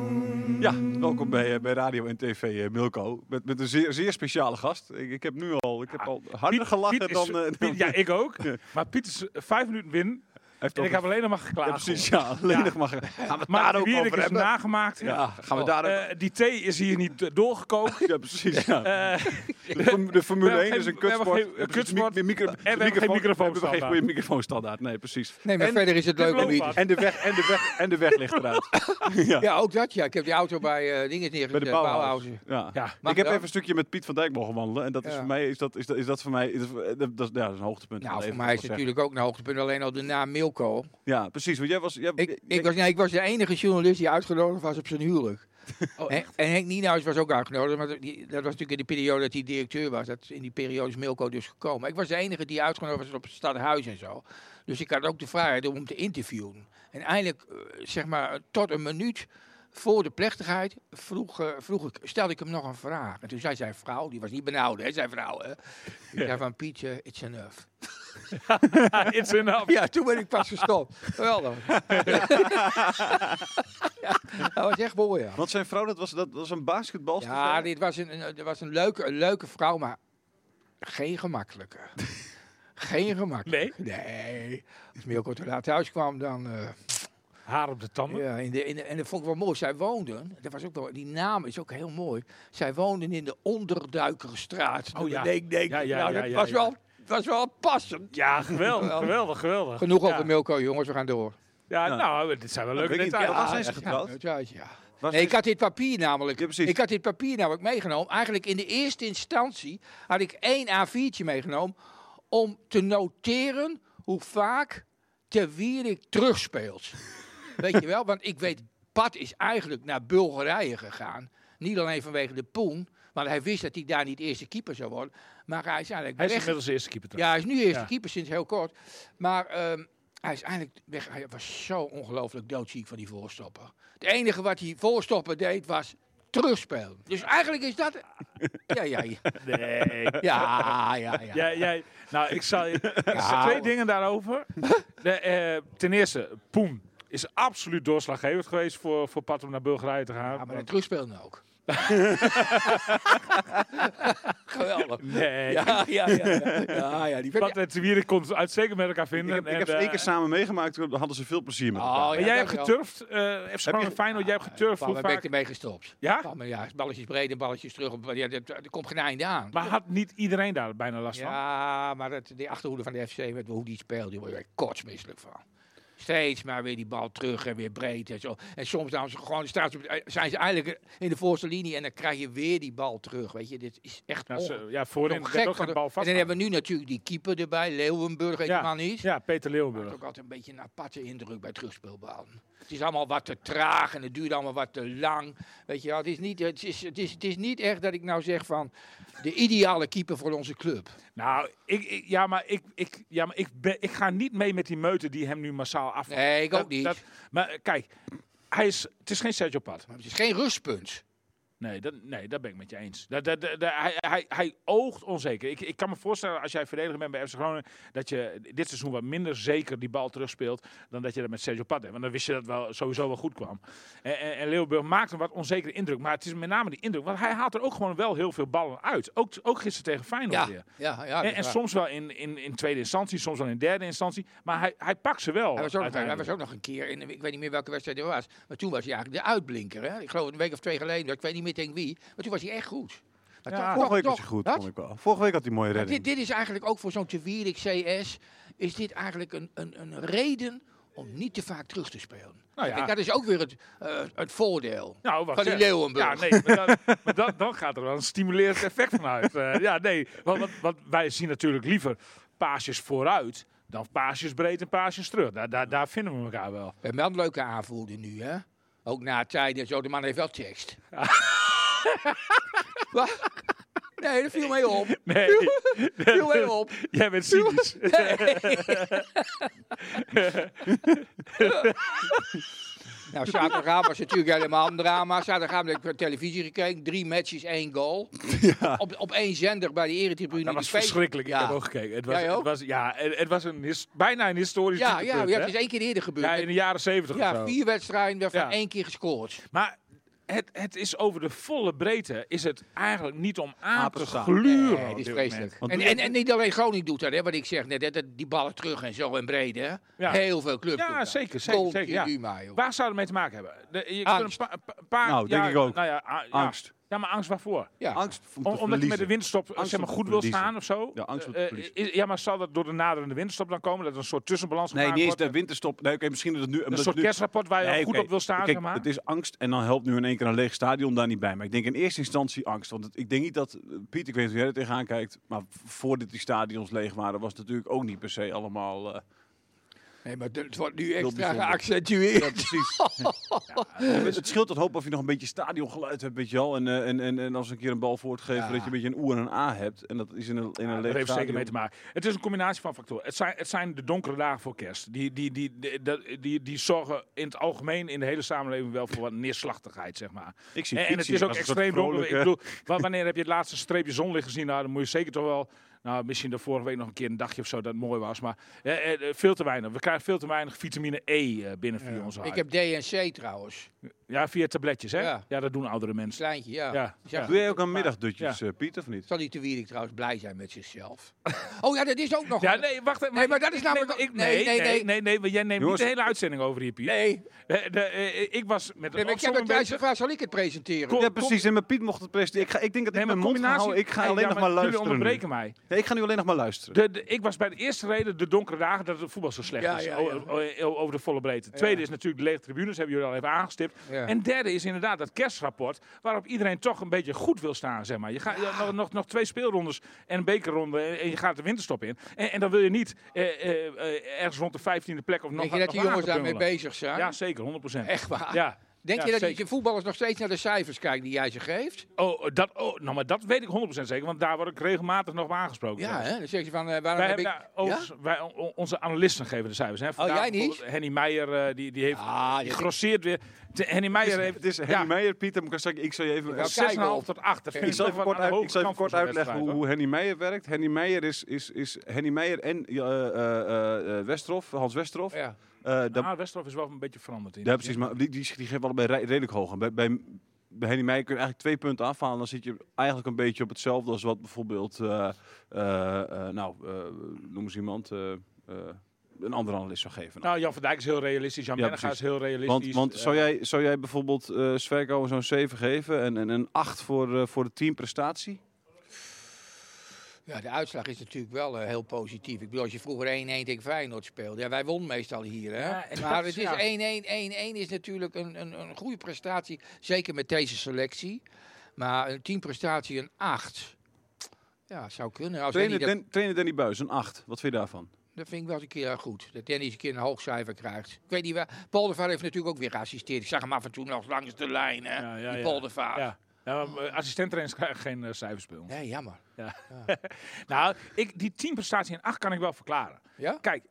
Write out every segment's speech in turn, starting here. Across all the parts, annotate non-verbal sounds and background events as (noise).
Ja, welkom bij, eh, bij Radio en TV eh, Milko. Met, met een zeer, zeer speciale gast. Ik, ik heb nu al, ik heb al harder Piet- gelachen Piet is- dan... eh, dan- Piet- ja, ik ook. (laughs) Ja. Maar Piet is eh, vijf minuten win. Hij heeft En ook ik heb een- alleen nog ja, maar geklaagd. precies, ja. Alleen nog maar... Gaan we het Maar daar de ook wierik over is hebben? nagemaakt. Ja, gaan we daar ook... Eh, die thee is hier niet eh, doorgekookt. Ja, precies, (laughs) ja. Eh, (laughs) De form- De Formule we 1 hebben is een geen- we hebben kutsport. geen- Het is kutsport. mi- mi- micro- En we hebben geen We microfoonstandaard. hebben geen goede microfoonstandaard. Nee, precies. Nee, maar En- verder is het leuk om loopbaan. iets. (laughs) En de weg, en de weg, en de weg ligt eruit. (laughs) Ja, ook dat ja. Ik heb die auto bij eh dingen Bij neergezet. de eh, Bauhaus. Bauhausen. Ja. ja. Mag ik heb dat? even een stukje met Piet van Dijk mogen wandelen. En dat is Ja. voor mij, is dat, is dat, is dat voor mij, is dat, eh, dat, is, ja, dat is een hoogtepunt. van Nou, het leven, kan voor mij is het ik wel zeggen. natuurlijk ook een hoogtepunt. Alleen al de naam Milko. Ja, precies. Want jij was, jij, Ik, ik, was, nee, ik was de enige journalist die uitgenodigd was op zijn huwelijk. Henk- en Henk Nienhuis was ook uitgenodigd. Maar die- dat was natuurlijk in de periode dat hij directeur was. Dat, in die periode is Milko dus gekomen. Ik was de enige die uitgenodigd was op het stadhuis en zo. Dus ik had ook de vrijheid om hem te interviewen. En eindelijk, eh, zeg maar, tot een minuut voor de plechtigheid vroeg, eh, vroeg ik, stelde ik hem nog een vraag. En toen zei zijn vrouw, die was niet benauwd, hè, zijn vrouw. Hè? Ik zei van, Piet, eh, it's enough. ah, it's enough. Ja, toen ben ik pas gestopt. Geweldig. ja, dat was echt mooi, ja. Want zijn vrouw, dat was, dat was een basketbalster. Ja, dit was een, een, dit was een, leuke, een leuke vrouw, maar geen gemakkelijke. Geen gemakkelijke. Nee? Nee. Als Mirko te laat thuis kwam, dan... eh, Haar op de tanden. ja, in de, in de- en dat vond ik wel mooi. Zij woonden, dat was ook wel, die naam is ook heel mooi. Zij woonden in de Onderduikerstraat. Oh, ja. Denk, denk, Ja, ja, nou, ja, dat ja, was, ja. Wel, was wel passend. Ja, geweldig, geweldig, geweldig. Genoeg ja. over Milko, jongens, we gaan door. Ja, Ja. nou, dit zijn wel Nou, leuke weet ik details. niet. Ja, waar zijn Ja, ze getrouwd? Ja, ja. Was Nee, dus- ik had dit papier namelijk. Ja, precies. ik had dit papier namelijk meegenomen. Eigenlijk in de eerste instantie had ik één A4'tje meegenomen om te noteren hoe vaak Ter Wierik (laughs) terugspeelt. weet je wel? Want ik weet, Pat is eigenlijk naar Bulgarije gegaan. Niet alleen vanwege de poen, want hij wist dat hij daar niet eerste keeper zou worden. Maar hij is eigenlijk Hij is weg inmiddels de eerste keeper. ja, hij is nu eerste Ja. keeper sinds heel kort. Maar ehm, hij is eindelijk weg. Hij was zo ongelooflijk doodziek van die voorstopper. Het enige wat die voorstopper deed was terugspelen. Dus eigenlijk is (laughs) dat... Ja, ja, ja. Nee. Ja, ja, ja. Nou. Jij, jij, nou, ik zal (laughs) je ik zal Ja. twee dingen daarover. De, eh, ten eerste, Poen is absoluut doorslaggevend geweest voor, voor Pat om naar Bulgarije te gaan. Ja, maar dat Want- terugspelen (laughs) ook. Geweldig. nee, Ja, ja, ja. Ja, ja, ja die Pat en Te Wierik kon het uitstekend met elkaar Ik vinden. heb, ik en, heb ze eh, één keer samen meegemaakt, toen hadden ze veel plezier Ah. met Oh, elkaar. ja. en jij hebt dankjewel. geturfd, eh FC Groningen je- Feyenoord, jij hebt geturfd. Hoe Waar ben ik vaak? ermee gestopt? Ja? Pam, Ja, balletjes breed en balletjes terug. op- Ja, dat- Er komt geen einde aan. Maar had niet iedereen daar bijna last van? Ja, maar dat, die achterhoede van de FC, met hoe die speelt, die word je kotsmisselijk van. Steeds maar weer die bal terug en weer breed en zo. En soms dan ze gewoon, staan ze, op- eh, zijn ze eigenlijk in de voorste linie en dan krijg je weer die bal terug. Weet je, dit is echt Nou, ze- onge- ja, voorin nog werd ook Oh. van geen de- bal vast. En dan hebben we nu natuurlijk die keeper erbij, Leeuwenburg, weet Ja. man niet. Ja, Peter Dat is Leeuwenburg. ook altijd een beetje een aparte indruk bij terugspeelbaan. Het is allemaal wat te traag en het duurt allemaal wat te lang. Weet je wel, het is niet, het is, het is, het is niet echt dat ik nou zeg van de ideale keeper voor onze club. Nou, ik, ik- ja, maar, ik, ik, ja, maar ik, ben, ik ga niet mee met die meute die hem nu massaal af. Nee, ik ook niet. maar eh, kijk, hij is, het is geen Sergio Pat. Maar het is geen rustpunt. Nee, dat, nee, dat ben ik met je eens. Dat, dat, dat- dat- hij, hij, hij oogt onzeker. Ik, ik kan me voorstellen, als jij verdediger bent bij FC Groningen, dat je dit seizoen wat minder zeker die bal terugspeelt dan dat je dat met Sergio Pat hebt. Want dan wist je dat wel sowieso wel goed kwam. En, en, en Leeuwenburg maakt een wat onzekere indruk. Maar het is met name die indruk, want hij haalt er ook gewoon wel heel veel ballen uit. Ook, ook gisteren tegen Feyenoord Ja, weer. ja, ja. En, dat en is waar. soms wel in, in, in tweede instantie, soms wel in derde instantie. Maar hij, hij pakt ze wel. Hij was, ook nog, hij uiteindelijk. was ook nog een keer, in, ik weet niet meer welke wedstrijd het was, maar toen was hij eigenlijk de uitblinker. Hè? Ik geloof een week of twee geleden, ik weet niet meer tegen wie, maar toen was hij echt goed. Maar Ja, Vorige week toch- was hij goed, wat? vond ik wel. Vorige week had hij een mooie Maar dit, redding. dit is eigenlijk ook voor zo'n Te Wierik CS, is dit eigenlijk een, een, een reden om niet te vaak terug te spelen. Nou ja. Kijk, dat is ook weer het, eh, het voordeel. Nou, wacht, Van die ja. Leeuwenburg. Ja, nee, maar, dan, maar dan, dan gaat er wel een stimulerend effect van uit. Eh, ja, nee, want, want, want wij zien natuurlijk liever paasjes vooruit dan paasjes breed en paasjes terug. Daar, daar, daar vinden we elkaar wel. We hebben wel een leuke aanvoerder nu, hè? Ook na tijden en zo, de man heeft wel (laughs) tekst. Wat? Nee, dat viel mij op. Nee, Viel mij op. jij bent cynisch. Nou, zaterdagavond was natuurlijk helemaal een drama. Zaterdagavond heb ik op televisie gekeken. Drie matches, (laughs) één goal. Op, op één zender bij de Eretribune. Dat die was feest- verschrikkelijk. Ja. Ik heb ook gekeken. Het was, Jij ook? Het was, ja, het, het was een his- bijna een historisch (laughs) Ja, ja, dieptepunt, ja, het hè? is één keer eerder gebeurd. ja, in de jaren zeventig of Ja, zo. vier wedstrijden waarvan Ja. één keer gescoord. Maar het, het is over de volle breedte is het eigenlijk niet om aan Aan te te staan. gluren. Nee, op het is dit vreselijk. moment. En, en, en niet alleen Groningen doet dat, hè, wat ik zeg net. Hè, dat die ballen terug en zo en breed, hè. Ja. Heel veel clubs Ja, doen dat. zeker, zeker, Tolkje, zeker, ja. Duma, joh. Waar zou het mee te maken hebben? De, je Angst. kunt Een pa- een paar, Nou, denk ja, ik ook. Nou ja, a- ja. Angst. Ja, maar angst waarvoor? Ja. Angst om te Om- omdat je met de verliezen. winterstop Angst zeg maar, om te goed wil verliezen. staan of zo? Ja, angst om te Eh, verliezen. is- ja, maar zal dat door de naderende winterstop dan komen? Dat er een soort tussenbalans Nee, gemaakt niet eens wordt? de winterstop. Nee, oké, misschien dat het nu... Een omdat het soort nu- kerstrapport waar je Nee, goed oké. op wil staan, Kijk, zeg maar? het is angst en dan helpt nu in één keer een leeg stadion daar niet bij. Maar ik denk in eerste instantie angst. Want het- ik denk niet dat... eh, Piet, ik weet niet hoe jij er tegenaan kijkt. Maar v- voordat die stadions leeg waren, was het natuurlijk ook niet per se allemaal... eh, Nee, maar het wordt nu Heel extra bijzonder. geaccentueerd. (laughs) precies. het, het scheelt dat hoop of je nog een beetje stadiongeluid hebt, weet je wel. En, eh, en, en, en als een keer een bal voortgeven, Ja. dat je een beetje een O en een A hebt. En dat is in een, in een Ja, leeg dat heeft stadion. zeker mee te maken. Het is een combinatie van factoren. Het zijn, het zijn de donkere dagen voor kerst. Die, die, die, die, die, die, die zorgen in het algemeen in de hele samenleving wel voor wat neerslachtigheid, zeg maar. Ik zie En, en Piet het zie is ik ook als een soort extreem donker. Ik vrolijke- bedoel, wa- wanneer heb je het laatste streepje zonlicht gezien? Nou, dan moet je zeker toch wel... Nou, misschien de vorige week nog een keer een dagje of zo dat het mooi was. Maar eh, eh, veel te weinig. We krijgen veel te weinig vitamine E eh, binnen via ons Ik heb DNC trouwens. Ja, via tabletjes, hè? Ja. Ja. dat doen oudere mensen. Kleintje, ja. Ja, Die zag ja. Doe jij ook een middagdutjes, Ja. eh, Piet, of niet? Zal die te Wierik trouwens blij zijn met zichzelf? (laughs) oh ja, dat is ook nog. Ja, een- nee, wacht even. Nee, maar dat is Ik- namelijk ik- ook- nee, nee, nee, nee, nee, want jij neemt Jongens. niet de hele uitzending over hier, Piet. nee. Eh, de, eh, ik was met nee een maar ik heb opzomming het juist bezig. gevraagd, zal ik het presenteren? Kom, Ja, precies. En mijn Piet mocht het presenteren. Ik, ga, ik denk dat ik mijn mond ga houden. Ik ga Nee, alleen ja, nog maar luisteren. Jullie nu. onderbreken mij. Nee, ik ga nu alleen nog maar luisteren. De, de- ik was bij de eerste reden de donkere dagen dat het voetbal zo slecht Ja, is. ja, ja. o- o- o- over de volle breedte. Tweede is natuurlijk de lege tribunes, hebben jullie al even aangestipt. Ja. En derde is inderdaad dat kerstrapport waarop iedereen toch een beetje goed wil staan. Zeg maar. Je gaat ja, nog, nog, nog twee speelrondes en een bekerronde en, en je gaat de winterstop in. En, en dan wil je niet eh, eh, eh, ergens rond de 15e plek of nog Denk je dat die nog jongens daarmee aangepummelen. bezig zijn? Ja, zeker, 100 procent. Echt waar? Ja. Denk Ja, je dat zeker. die voetballers nog steeds naar de cijfers kijken die jij ze geeft? Oh, dat, oh, nou, maar dat weet ik 100% zeker, want daar word ik regelmatig nog op aangesproken. Ja, hè? Dan zeggen ze van, eh, waarom Wij heb hebben ik... daar Ja? Oh, overigens- wij, on- on- onze analisten geven de cijfers. Hè. Vandaag jij niet? bijvoorbeeld Henny Meijer, eh, die, die heeft Ah, die dit- grosseert weer. De, Henny Meijer heeft Het is Henny ja, Meijer, Piet. en Ik zal, ik zal je even... wou- Ik 6,5 tot 8. Dat vind zal toch even wel kort, aan de uit, hoge ik zal even kant voor kort zo'n uitleggen hoe, wedstrijd, hoe Henny Meijer werkt. Henny Meijer is, is, is Henny Meijer en eh eh, eh, eh, Westerhof, Hans Westerhof. Ja. Eh, hoor. dat- Ah, Westerhof is wel een beetje veranderd. In ja, precies. Maar die, die, die geven allebei re- redelijk hoog. En bij, bij, bij Henny Meijer kun je eigenlijk twee punten afhalen. Dan zit je eigenlijk een beetje op hetzelfde als wat bijvoorbeeld... eh, eh, eh, nou, eh, noem eens iemand... eh, eh, een andere analist zou geven. Nou, Jan van Dijk is heel realistisch. Jan Ja, Menega is Nou, precies. heel realistisch. Want, want zou, Eh, jij, zou jij bijvoorbeeld eh Sverko zo'n 7 geven en, en een 8 voor, eh, voor de teamprestatie? ja, de uitslag is natuurlijk wel eh, heel positief. Ik bedoel, als je vroeger 1-1 tegen Feyenoord speelde. Ja, wij wonnen meestal hier, hè? Ja, en maar dat is- nou- het is ja. 1-1. 1-1 is natuurlijk een, een, een goede prestatie. Zeker met deze selectie. Maar een teamprestatie, een 8. Ja, zou kunnen. Als Trainer, Danny dat, Dan- trainer Danny Buis, een 8. Wat vind je daarvan? dat vind ik wel eens een keer eh, goed. Dat Danny eens een keer een hoog cijfer krijgt. Ik weet niet waar. Poldervaart heeft natuurlijk ook weer geassisteerd. Ik zag hem af en toe nog langs de lijn, hè? Ja, ja, die ja. Poldervaart. Ja. Ja, maar, eh, assistenttrainers krijgen geen eh, cijfers bij ons. Nee, jammer. Nou, ik, die teamprestatie in 8 kan ik wel verklaren. Ja? Kijk,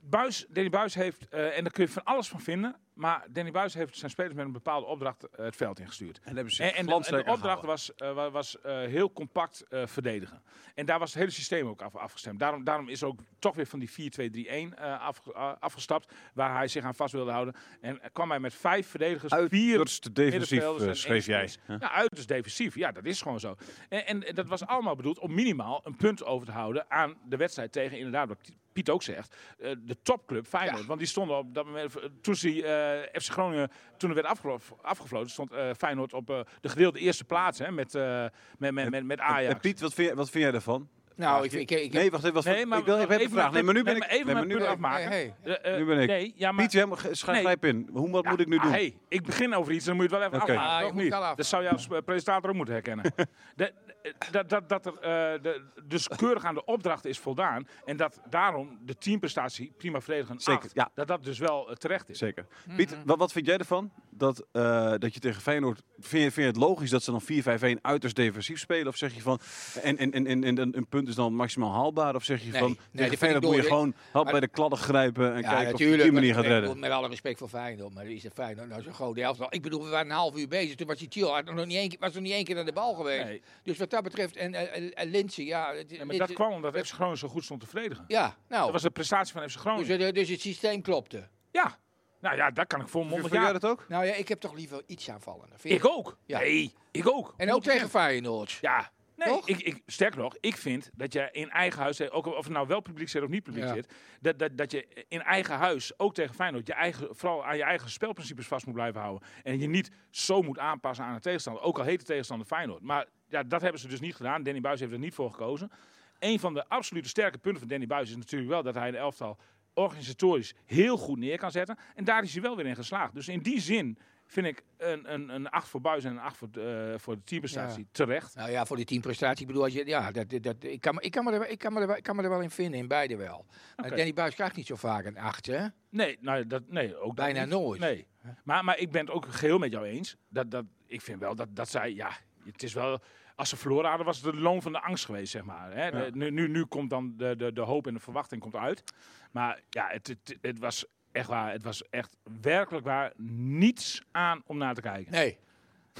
Buis, Danny Buis heeft, eh, en daar kun je van alles van vinden. Maar Danny Buis heeft zijn spelers met een bepaalde opdracht eh, het veld ingestuurd. En hebben ze En, en de, en de opdracht was, eh, wa- was eh, heel compact eh, verdedigen. En daar was het hele systeem ook af, afgestemd. Daarom, daarom is ook toch weer van die 4-2-3-1 eh, afge- a- afgestapt, waar hij zich aan vast wilde houden. En eh, kwam hij met vijf verdedigers, vier Uiterst defensief, middenvelders eh, en schreef één jij. spits. Ja, uiterst defensief. Ja, dat is gewoon zo. En, en, en dat was allemaal bedoeld om minimaal een punt over te houden aan de wedstrijd tegen, inderdaad, wat Piet ook zegt, eh, de topclub Feyenoord. Want die stonden op dat moment, toen, ze, die, eh, FC Groningen, toen er werd afgelo- afgefloten, stond eh, Feyenoord op eh, de gedeelde eerste plaats hè, met, eh, met, met, met, met Ajax. En Piet, wat vind, jij- wat vind jij daarvan? Nou, ik, vind- ik, ik, nee, wacht even. Wat, Nee, maar ik wil ik heb even een vraag. Nee, maar nu ben ik... Even nee, maar mijn nu punt ben ik- afmaken. Hey, Eh, eh, Nu ben ik. Nee, ja, maar, Piet, jij mag- eh, schrijf Nee. grijp in. Hoe, wat moet ik nu Ah, doen? hey, ik begin over iets, dan moet je het wel even Oké. afmaken. Ah, je of moet niet? het wel Dat zou je als eh, presentator ook moeten (laughs) herkennen. De- dat, dat, dat er eh, de, dus keurig aan de opdracht is voldaan. En dat daarom de teamprestatie, prima verdedigen, Zeker, acht, ja. dat dat dus wel eh, terecht is. Zeker. Piet, wat, wat vind jij ervan? Dat, eh, dat je tegen Feyenoord... Vind je, vind je het logisch dat ze dan 4-5-1 uiterst defensief spelen? Of zeg je van... En, en, en, en, en een punt is dan maximaal haalbaar? Of zeg je Nee, van... nee, dat tegen vind Feyenoord ik moet je doorie. gewoon hap bij de kladden grijpen... en kijken of je op natuurlijk, die met- manier gaat met- redden. Met alle respect voor Feyenoord, maar is het Feyenoord nou zo'n grote helft. Ik bedoel, we waren een half uur bezig. Toen was die Thiel had nog niet één keer, was nog niet één keer aan de bal geweest. Nee. Dus wat dat betreft, en, eh, en, en Lindsay, ja. het- Ja, maar dit- dat kwam omdat FC Groningen zo goed stond te verdedigen. Ja, nou. Dat was de prestatie van FC dus, Groningen. het- dus het systeem klopte. Ja, nou ja, dat kan ik Vond volmondig jij ja. dat ook? Nou ja, ik heb toch liever iets aanvallender. vind Ik ook. Ja. Nee, ik ook. En ook tegen Feyenoord. Ja. Nee, Toch? ik, ik, sterker nog, ik vind dat je in eigen huis, eh, ook of het nou wel publiek zit of niet publiek Ja. zit, dat, dat, dat je in eigen huis, ook tegen Feyenoord, je eigen, vooral aan je eigen spelprincipes vast moet blijven houden. En je niet zo moet aanpassen aan de tegenstander, ook al heet de tegenstander Feyenoord. Maar ja, dat hebben ze dus niet gedaan. Danny Buis heeft er niet voor gekozen. Een van de absolute sterke punten van Danny Buis is natuurlijk wel dat hij een elftal organisatorisch heel goed neer kan zetten. En daar is hij wel weer in geslaagd. Dus in die zin vind ik een, een, een 8 voor Buis en een 8 voor, eh, voor de teamprestatie terecht. Nou ja, voor die teamprestatie. Ik bedoel, als je, ja, dat, dat, ik, kan, me- ik, kan me er, wel- ik, kan me er, wel- ik kan me er wel in vinden, in beide wel. Maar Oké. Danny Buis krijgt niet zo vaak een acht, hè? Nee, nou, ja, dat, nee ook dat Bijna niet. nooit. Nee. Maar, maar ik ben het ook geheel met jou eens. Dat, dat, ik vind wel dat, dat zij, ja, het is wel... Als ze verloren hadden, was het de loon van de angst geweest, zeg maar. Hè? De- nu, nu, nu komt dan de, de, de hoop en de verwachting komt uit. Maar ja, het, het, het was echt waar. Het was echt werkelijk waar niets aan om naar te kijken. Nee.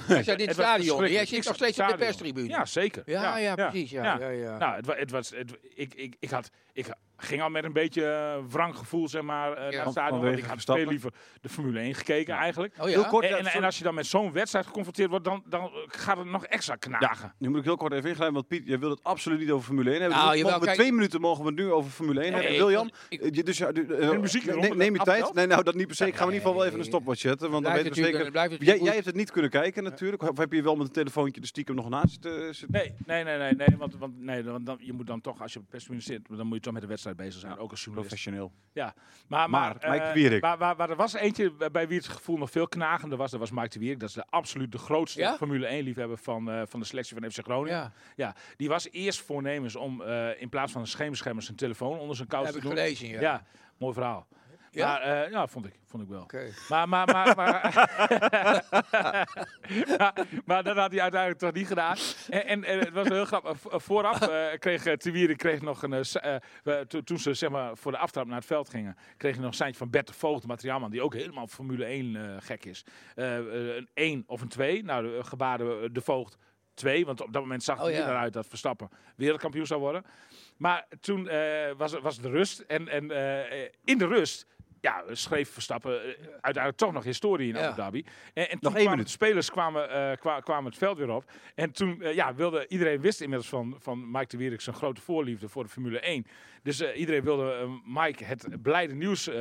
Hij zat in (laughs) het Het was stadion. verschrikkelijk. Jij zit Ik zat nog steeds op de stadion. perstribune. Ja, zeker. Ja, ja, precies, ja, ja, ja. Nou, het, wa- het was, het, ik, ik, ik, had, ik ging al met een beetje eh, wrang gevoel zeg maar, eh, naar het stadion. Want vanwege ik had Verstappen. veel liever de Formule 1 gekeken eigenlijk. Oh Heel ja? kort, En, ja, en, sorry. en als je dan met zo'n wedstrijd geconfronteerd wordt, dan, dan eh, gaat het nog extra knagen. Nu moet ik heel kort even ingrijpen, want Piet, jij wil het absoluut niet over Formule 1 hebben. Nou, Dus jawel, mogen we kijk- twee minuten mogen we het nu over Formule 1 hebben. ik- William, ik- eh, je- dus, ja, du- eh, En muziek ne- eronder, neem je dat tijd. aftelt? Nee, nou dat niet per se. Ik ga in ieder geval wel even een Nee. stopwatch zetten, want dan Blijft weten we natuurlijk, zeker... dan blijft het Jij, goed. jij hebt het niet kunnen kijken natuurlijk, of heb je wel met een telefoontje de stiekem nog naast zitten? zitten- Nee, nee, nee, nee, nee, want, want, nee want dan, je moet dan toch, als je op het perstribune zit, dan moet je toch met de wedstrijd bezig zijn, ook als journalist. Professioneel. Ja, maar, Maar, maar, Mike eh, de Wierik. Waar, waar, waar er was eentje bij- bij wie het gevoel nog veel knagender was, dat was Mike de Wierik. Dat is de absoluut de grootste Ja? Formule 1 liefhebber van, eh, van de selectie van FC Groningen. Ja, Ja, die was eerst voornemens om eh, in plaats van een schemerschermer zijn telefoon onder zijn kous heb te ik doen. gelezen, ja. ja. mooi verhaal. Ja? Maar, eh, ja, vond ik, vond ik wel. Oké. Maar, maar, maar, maar, (laughs) maar, maar dat had hij uiteindelijk toch niet gedaan. En, en, en het was heel grappig. Vo- Vooraf eh kreeg eh, Te Wieren kreeg nog een. eh, s- eh, we- to- toen ze zeg maar, voor de aftrap naar het veld gingen, kreeg hij nog een seintje van Bert de Voogd, de materiaalman, die ook helemaal Formule 1 eh, gek is. Eh, eh, een 1 of een 2. Nou, de, gebaarde de Voogd 2, want op dat moment zag Oh, het er ja. niet naar uit dat Verstappen wereldkampioen zou worden. Maar toen eh, was, was de rust. En, en eh, in de rust ja, schreef Verstappen eh, uiteindelijk toch nog historie in Ja. Abu Dhabi. En, en toen één kwamen minuut. De spelers kwamen, eh, kwa- kwamen het veld weer op. En toen eh, ja, wilde iedereen wist inmiddels van, van Mike de Wierik zijn grote voorliefde voor de Formule 1. Dus eh, iedereen wilde eh, Mike het blijde nieuws eh,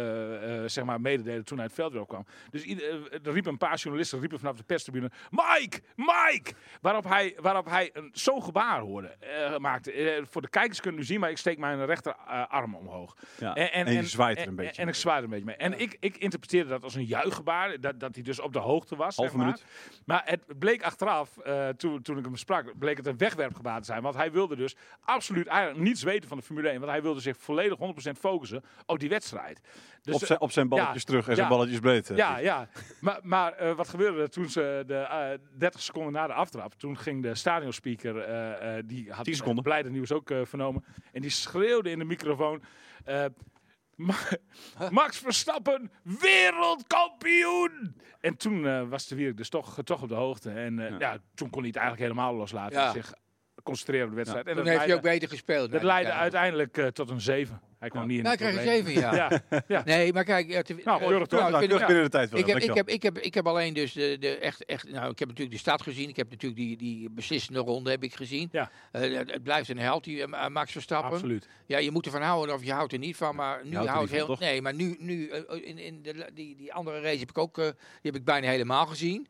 eh, zeg maar mededelen toen hij het veld weer opkwam. Dus ieder- eh, er riepen een paar journalisten riepen vanaf de perstribune: Mike, Mike! Waarop hij, waarop hij een, zo'n gebaar hoorde, eh, maakte. Eh, voor de kijkers kunnen nu zien, maar ik steek mijn rechterarm omhoog. Ja. En, je zwaait er een en- beetje. En ik zwaai er een beetje mee. En ik, ik interpreteerde dat als een juichgebaar, dat, dat hij dus op de hoogte was. Halve zeg maar. minuut. Maar het bleek achteraf, eh, toen, toen ik hem sprak, bleek het een wegwerpgebaar te zijn. Want hij wilde dus absoluut eigenlijk niets weten van de Formule 1. Want hij wilde zich volledig 100% focussen op die wedstrijd. Dus, op, zijn, eh, op zijn balletjes ja, terug en zijn ja. balletjes breed. eh. ja, ja. Maar, maar eh, wat gebeurde er toen ze de eh, 30 seconden na de aftrap, toen ging de stadionspeaker, eh, eh, die had 10 het seconden. blijde nieuws ook eh, (laughs) vernomen, en die schreeuwde in de microfoon. eh, Ma- Max Verstappen, wereldkampioen! En toen eh, was de Wierik dus toch, toch op de hoogte. En eh, Ja. ja. toen kon hij het eigenlijk helemaal loslaten. Ja. en Zich concentreren op de wedstrijd. En Dan dat heeft hij leidde, ook beter gespeeld. dat leidde uiteindelijk eh, tot een 7. Hij kwam niet in Nou, de ik krijg top je één. zeven, ja. Ja, (laughs) Nee, maar kijk... ja, te- Nou, eh, keurig toch? ik Nou, vind- keurig binnen de tijd, Ik Willem. heb, ik, Dankjewel. heb, ik, heb, ik heb alleen dus de, de echt, echt, nou, ik heb natuurlijk de stad gezien. Ik heb natuurlijk die, die beslissende ronde heb ik gezien. Ja. Eh, het, het blijft een held, die eh, Max Verstappen. absoluut. Ja, je moet ervan houden of je houdt er niet van. Maar nu houdt er houdt niet heel. van, toch? Nee, maar nu, nu eh, in, in de, la- die, die andere race heb ik ook. eh, die heb ik bijna helemaal gezien.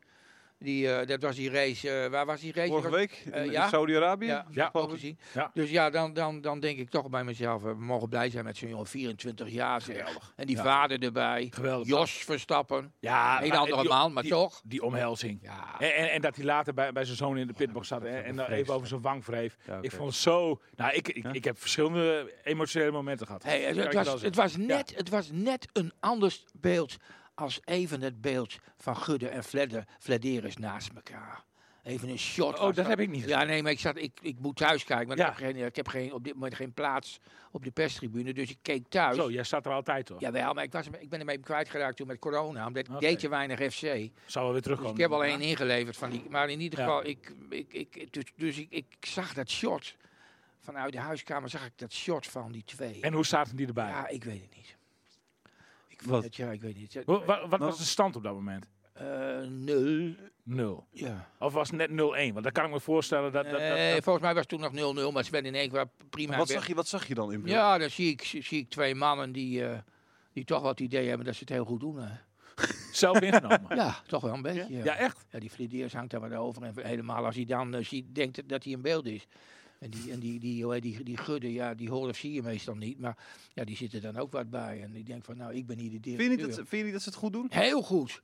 Die, eh, dat was die race. eh, waar was die race? Vorige Was- week in eh, in ja. Saudi-Arabië. Ja, Ja, ook geloof ik. gezien. Ja. Dus ja, dan, dan, dan denk ik toch bij mezelf. eh, we mogen blij zijn met zo'n jongen, 24 jaar. zeg. En die Ja. vader erbij. Geweldig. Jos Verstappen. Ja, Hele maar- andere die- man, maar die- toch. Die omhelzing. Ja. En, en, en dat hij later bij, bij zijn zoon in de pitbox zat en, en dan even over zijn wang wreef. Ja, oké. Ik vond het zo... Nou, ik, ik, ik heb verschillende emotionele momenten gehad. Hey, het, Kan het ik wel was, zeggen. het, was net, het was net een anders beeld als even het beeld van Gudde en Fledder, Flederis naast elkaar. Even een shot. Oh, was dat heb ik niet. Ja, nee, maar ik, zat, ik, ik moet thuis kijken, want Ja. ik heb, geen, ik heb geen, op dit moment geen plaats op de perstribune, dus ik keek thuis. Zo, jij staat er altijd toch? Jawel, maar ik, was, ik ben ermee kwijtgeraakt toen met corona, omdat ik Oké. deed te weinig FC. Zou wel weer Dus terugkomen. ik heb al één ingeleverd van die. Maar in ieder Ja. geval, ik, ik, ik, dus, dus ik, ik zag dat shot. Vanuit de huiskamer zag ik dat shot van die twee. En hoe zaten die erbij? Ja, ik weet het niet. Ik Wat? wat? Het, ja, ik weet niet. Ja, Wa- wa- wat was de stand op dat moment? eh, nul. Nul. Ja. Of was het net 0-1? Want dan kan ik me voorstellen dat... dat, dat, dat- Eh, volgens mij was het toen nog 0-0, maar Sven in één keer prima. Wat in zag bed. je, wat zag je dan in beeld? Ja, dan zie ik, zie ik twee mannen die, eh, die toch wat idee hebben dat ze het heel goed doen. hè. Zelf (laughs) ingenomen. Ja, toch wel een beetje. Ja, echt? Ja, die Flederis hangt daar wat over. En helemaal als hij dan eh, ziet, denkt dat hij in beeld is. En die, en die, die, hoe heet die, die gudde, ja, die hoor of zie je meestal niet. Maar ja, die zitten dan ook wat bij. En ik denk van, nou, ik ben hier de Vind, je directeur. niet dat, ze- vind je niet dat ze het goed doen? Heel goed.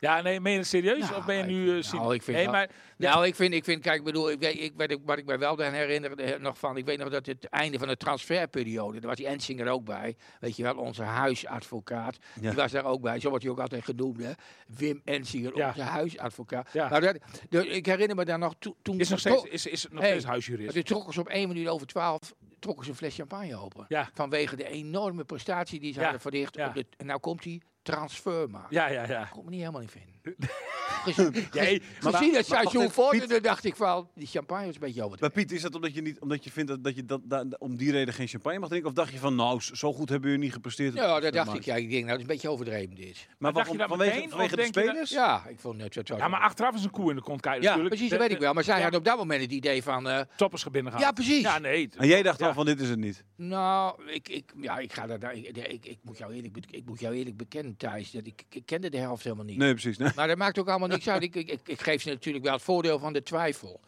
Ja, nee, meen je het serieus? Nou, of ben je ik- nu... eh, nou, cynisch? ik vind nee, dat- maar, Nou, ik vind, ik vind, kijk, ik bedoel, ik weet, ik weet, ook- wat ik me wel dan herinner eh, nog van, ik weet nog dat het einde van de transferperiode, daar was die Ensinger ook bij, weet je wel, onze huisadvocaat, Ja. die was daar ook bij, zo wordt hij ook altijd genoemd, hè, Wim Ensinger, Ja. onze huisadvocaat. Ja. Maar dat, de- ik herinner me daar nog, to- toen, is, nog steeds, is, is het nog Hey, steeds huisjurist? toen trokken ze op 1 minuut over 12, trokken ze een fles champagne open, Ja. vanwege de enorme prestatie die ze Ja. hadden verricht, Ja. op de, en nou komt die transfermarkt. Ja, ja, ja. Ik kon me niet helemaal in vinden. Gezien- Jij- maar, Maar- gezien het maar seizoen wacht even, vorderde, dacht ik van, die champagne is een beetje Maar overdreven. Piet, is dat omdat je, niet, omdat je vindt dat, dat je dat, da- da- om die reden geen champagne mag drinken? Of dacht je van, nou, z- zo goed hebben jullie niet gepresteerd? Ja, dat dacht Maar- ik. Ja, ik denk, nou, dat is een beetje overdreven dit. Maar dacht je waarom, dat vanwege, meteen, vanwege of de denk je dat- spelers? Ja, ik vond het zo. Ja, maar achteraf is een koe in de kont kijken Ja, natuurlijk. precies, dat De- weet ik wel. Maar zij ja. hadden op dat moment het idee van, eh, de Toppers gaan binnen gaan. ja, precies. Ja, nee. En jij dacht Ja. al van, dit is het niet. Nou, ik, ik, ja, ik ga daar, daar- ik, ik, ik, moet jou eerlijk, be- ik moet jou eerlijk bekennen, Thijs, dat ik, ik kende de helft helemaal niet. Nee, precies. (laughs) Nee. Maar dat maakt ook allemaal niks uit. Ik, ik, ik, ik geef ze natuurlijk wel het voordeel van de twijfel.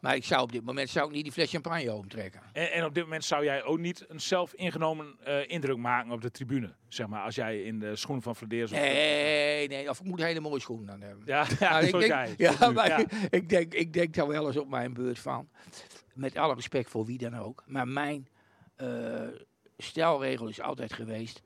Maar ik zou op dit moment zou ik niet die fles champagne omtrekken. En, en op dit moment zou jij ook niet een zelf ingenomen eh, indruk maken op de tribune. Zeg maar, als jij in de schoen van Fladeers... of- Nee, nee, of ik moet hele mooie schoenen aan hebben. Ja, ja, (laughs) Nou, ik zoals jij. denk, ja, maar Ja. (laughs) Ik, denk, ik denk daar wel eens op mijn beurt van. Met alle respect voor wie dan ook. Maar mijn eh stelregel is altijd geweest: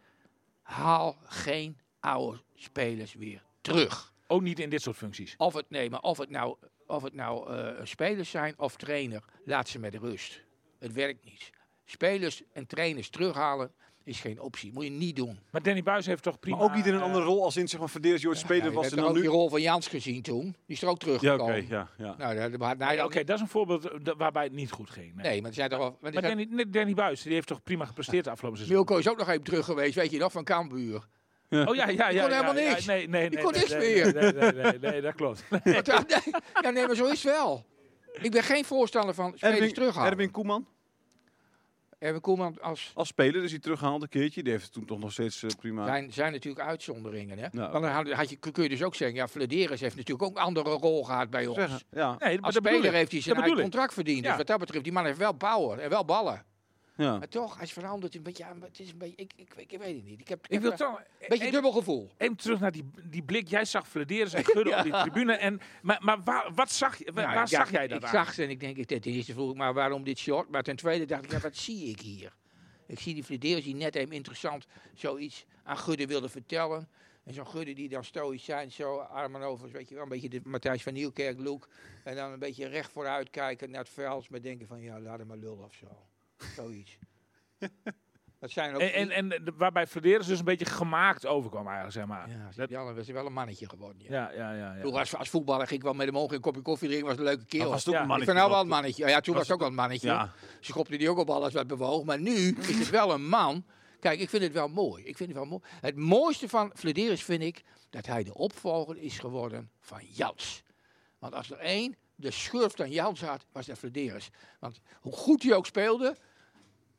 haal geen oude spelers weer terug. Ook niet in dit soort functies. Of het, nee, maar of het nou, of het nou eh, spelers zijn of trainer, laat ze met rust. Het werkt niet. Spelers en trainers terughalen is geen optie. Moet je niet doen. Maar Danny Buis heeft toch prima... Maar ook niet in een eh, andere rol als in, zeg maar, verdeers, Joost Ja, Speler je was hebt en toch dan ook nu... die rol van Jans gezien toen. Die is er ook Ja, teruggekomen. oké, ja, ja. Nou, daar- daar had hij Oké, ook dat is een voorbeeld eh, da- waarbij het niet goed ging. Nee. Nee, dus maar er zijn toch wel. Maar er Maar zijn- Danny, nee, Danny Buis, die heeft toch prima gepresteerd de afgelopen seizoen? Milko is ook nog even terug geweest, weet je nog, van (laughs) Kambuur. Oh ja, ja, ja. kon ja, helemaal ja, niks. nee, nee, nee, kon nee, niks nee, meer. Nee, nee, nee, nee, dat klopt. (laughs) Want daar- (laughs) nee, ja, nee, maar zo is het wel. Ik ben geen voorstander van spelers Erwin, terughalen. Erwin Koeman Erwin Koeman als... als speler is hij teruggehaald een keertje. Die heeft het toen toch nog steeds eh, prima... Zijn, zijn natuurlijk uitzonderingen, hè. Nou. Want dan had, had je, kun je dus ook zeggen, ja, Flederis heeft natuurlijk ook een andere rol gehad bij ons. Zeggen, ja, Nee, maar Als dat bedoel speler ik. heeft hij zijn Dat eigen bedoel ik. contract verdiend. Dus Ja. wat dat betreft, die man heeft wel power en wel ballen. ja. Maar toch, hij is veranderd een beetje. Ja, maar het is een beetje ik, ik, ik, ik weet het niet. Ik heb, ik Ik wil heb toch... een beetje dubbel gevoel. Even terug naar die, die blik. Jij zag Fladeers (laughs) en Gudde op die tribune. En, maar maar waar, wat zag, je- waar, Nou, waar ja, zag jij dat Ik aan? zag ze en ik denk, ik- ten eerste vroeg ik maar waarom dit short. Maar ten tweede dacht ik, ja, wat zie ik hier? Ik zie die Fladeers die net even interessant zoiets aan Gudde wilde vertellen. En zo'n Gudde die dan stoïsch zijn, zo armen over, weet je wel, een beetje de Matthijs van Nieuwkerk look. En dan een beetje recht (laughs) vooruit kijken naar het veld, maar denken van, ja, laat hem maar lullen of zo. Zoiets. Dat zijn ook... En, en, en de- waarbij Flederis dus een beetje gemaakt overkwam eigenlijk, zeg maar. ja, dat- Jan was wel een mannetje geworden. Ja. Ja, ja, ja. ja. Vroeger als, als voetballer ging ik wel met hem omhoog een kopje koffie drinken. was een leuke kerel. was toch Ja, een ik mannetje. vind nou wel toch? een mannetje. Ja, toen Was was het ook wel een mannetje. Ja, Ze schopte die ook op alles wat bewoog. Maar nu is het wel een man. Kijk, ik vind het wel mooi. Ik vind het, wel mooi. het mooiste van Flederis vind ik dat hij de opvolger is geworden van Jans. Want als er één de schurft aan Jans had, was dat Flederis. Want hoe goed hij ook speelde,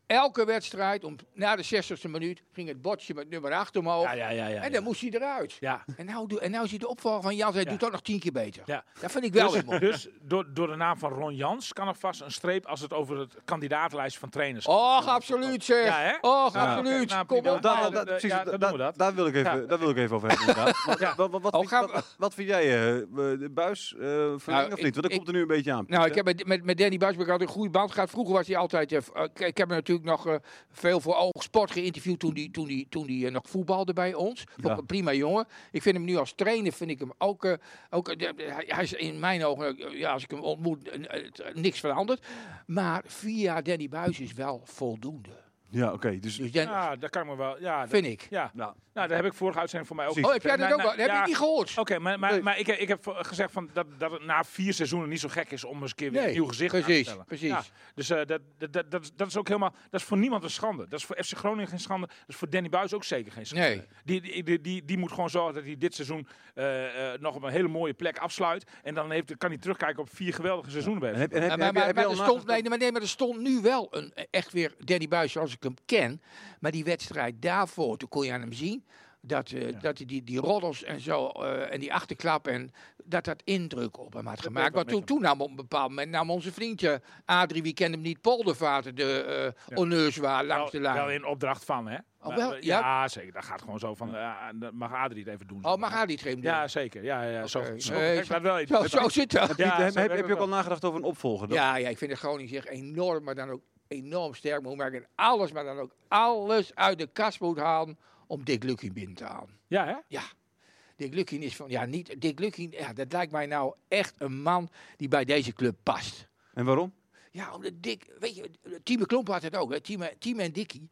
elke wedstrijd, om, na de 60ste minuut, ging het bordje met nummer 8 omhoog. ja, ja, ja, ja. en dan moest hij eruit. ja. En nou, doe- en nou is hij de opvolger van Jans. Hij Ja. doet dat nog tien keer beter. Ja. Dat vind ik wel weer dus, mooi. dus door, door de naam van Ron Jans kan er vast een streep als het over het kandidaatlijst van trainers gaat. Och, absoluut zeg. Ja, hè? Och, Ja. absoluut. Oké, nou, Kom prima. op. Dan- man. dat- precies, ja, dat- dan doen we dat. Daar wil ik even, Ja. daar wil ik even over hebben. inderdaad. Want, (laughs) Ja. wat, wat, wat, Oh, vind- gaan we- wat- wat vind jij, eh, eh, de buis, eh verlengd Nou, of ik- niet? Want dat ik- komt er nu een beetje aan. Nou, ik heb met, met, met Danny Buisberg altijd een goede band gehad. Vroeger was hij altijd... eh, v- eh, ik- ik heb hem natuurlijk nog eh, veel voor Oogsport geïnterviewd toen hij toen die, toen die, eh, nog voetbalde bij ons. Vond ik Ja. een prima jongen. Ik vind hem nu als trainer, vind ik hem ook... eh, ook eh, de- de- hij, hij is in mijn ogen, eh, ja, als ik hem ontmoet, eh, eh, t- eh, niks veranderd. Maar via Danny Buis is wel voldoende. Ja, oké. dus, Dus Dan, Ja, dat kan ik me wel. Ja, dat- vind ik. Ja, nou, nou, daar heb ik vorige uitzending voor mij ook. Precies. Oh, heb jij dat Nou, ook wel? nou, Heb je ja. het niet gehoord? Oké, maar, maar, Nee. maar ik, ik heb voor- gezegd van dat, dat het na vier seizoenen niet zo gek is om eens een keer weer Nee, een nieuw gezicht aan te precies, stellen. precies. Ja, dus eh, dat, dat, dat, dat, is- dat is ook helemaal, dat is voor niemand een schande. Dat is voor FC Groningen geen schande. Dat is voor Danny Buis ook zeker geen schande. Nee. Die, die, die, die, die moet gewoon zorgen dat hij dit seizoen eh, eh, nog op een hele mooie plek afsluit. En dan heeft, kan hij terugkijken op vier geweldige seizoenen. bij en hem. heb, en heb, heb, Ja, Nou, maar, je- maar, heb maar je al er stond, nagedacht- nee, maar, nee, maar er stond nu wel een, echt weer Danny Buis zoals ik hem ken. Maar die wedstrijd daarvoor, toen kon je aan hem zien dat, eh, dat hij die, die roddels en zo eh, en die achterklap en dat dat indruk op hem had gemaakt. deed wat Want toen, met toen nam op een bepaald moment nam onze vriendje Adrie, wie kende hem niet, Poldervater, de eh Ja. honneurswaar Wel- langs de wel lijn. in opdracht van, hè? Oh, Maar- wel? ja. zeker. Dat gaat gewoon zo van. eh, dat mag Adrie het even doen. Oh, mag Adrie het geen Ja, zeker. Ja, ja, zo, Oké. zo, Nee, gek dat wel iets. Zo, zo zit dat. Ja, heb, zo heb, heb heb ik je ook al wel. nagedacht over een opvolger? Dat- Ja, ja, ik vind de Groningen echt enorm, maar dan ook enorm sterk. Maar hoe maak ik alles, maar dan ook alles uit de kast moet halen om Dick Lucky binnen te halen. Ja, hè? Ja. Dick Lukien is van, ja, niet. Dick Lukien, ja, dat lijkt mij nou echt een man die bij deze club past. En waarom? Ja, omdat Dick, weet je, Tieme Klomp had het ook, hè? Tieme, Tieme en Dikkie.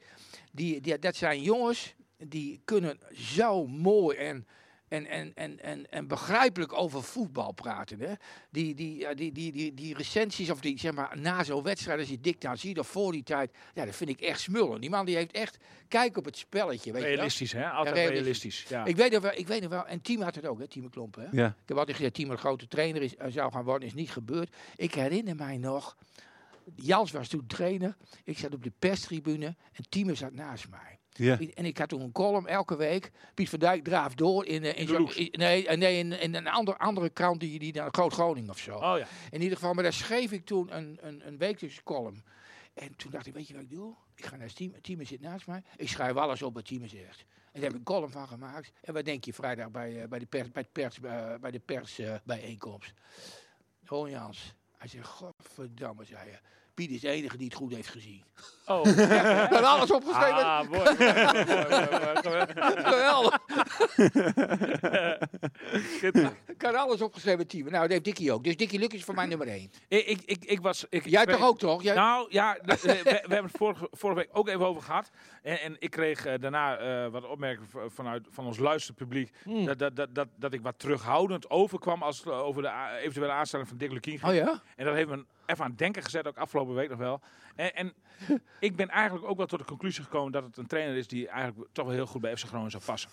Die, die, dat zijn jongens die kunnen zo mooi en, en, en, en, en, en begrijpelijk over voetbal praten. Hè? Die, die, ja, die, die, die, die recensies, of die, zeg maar, na zo'n wedstrijd, als je Dick dan ziet, of voor die tijd, ja, dat vind ik echt smullen. Die man die heeft echt kijk op het spelletje. Weet je wel? Realistisch, hè? Altijd Ja, realistisch. realistisch. Ja. Ik weet nog wel, ik weet nog wel, en Tieme had het ook, hè, Tieme Klomp. Hè? Ja. Ik heb altijd gezegd, Timo een grote trainer is, eh, zou gaan worden, is niet gebeurd. Ik herinner mij nog, Jans was toen trainer, ik zat op de perstribune en Timo zat naast mij. Ja. Piet- En ik had toen een column elke week. Piet van Dijk draaft door in, eh, in, de zo'n- Loeks. in- nee, eh, nee, in, in een ander, andere krant, die, die dan Groot Groningen of zo. Oh ja. In ieder geval, maar daar schreef ik toen een, een, een wekelijkse column. En toen dacht ik, weet je wat ik doe? Ik ga naar het team, het team zit naast mij. Ik schrijf alles op wat team zegt. En daar heb ik een column van gemaakt. En wat denk je vrijdag bij, eh, bij de pers, bij het pers, eh, bij de pers eh, bijeenkomst? Ron Jans, hij zegt, godverdamme, zei hij. Piet is de enige die het goed heeft (laughs) gezien. (laughs) Oh. Ik had alles opgeschreven. Ah, mooi. Mooi, mooi, mooi. Geweldig. Schitterend. Ik had alles opgeschreven, team. Nou, dat heeft Dikkie ook. Dus Dikkie Luk is voor mij nummer één. Ik, ik, ik, ik was. Ik, Jij ik- toch ook, toch? Jij, Nou ja, de- eh, we, we hebben het vorige, vorige week ook even over gehad. En, en ik kreeg eh, daarna eh, wat opmerkingen v- vanuit van ons luisterpubliek. Hmm. Dat, dat, dat, dat, dat ik wat terughoudend overkwam als het eh, over de a- eventuele aanstelling van Dick Lukien ging. Oh ja? En dat heeft me even aan het denken gezet, ook afgelopen week nog wel. En, (laughs) en ik ben eigenlijk ook wel tot de conclusie gekomen dat het een trainer is die eigenlijk toch wel heel goed bij FC Groningen zou passen.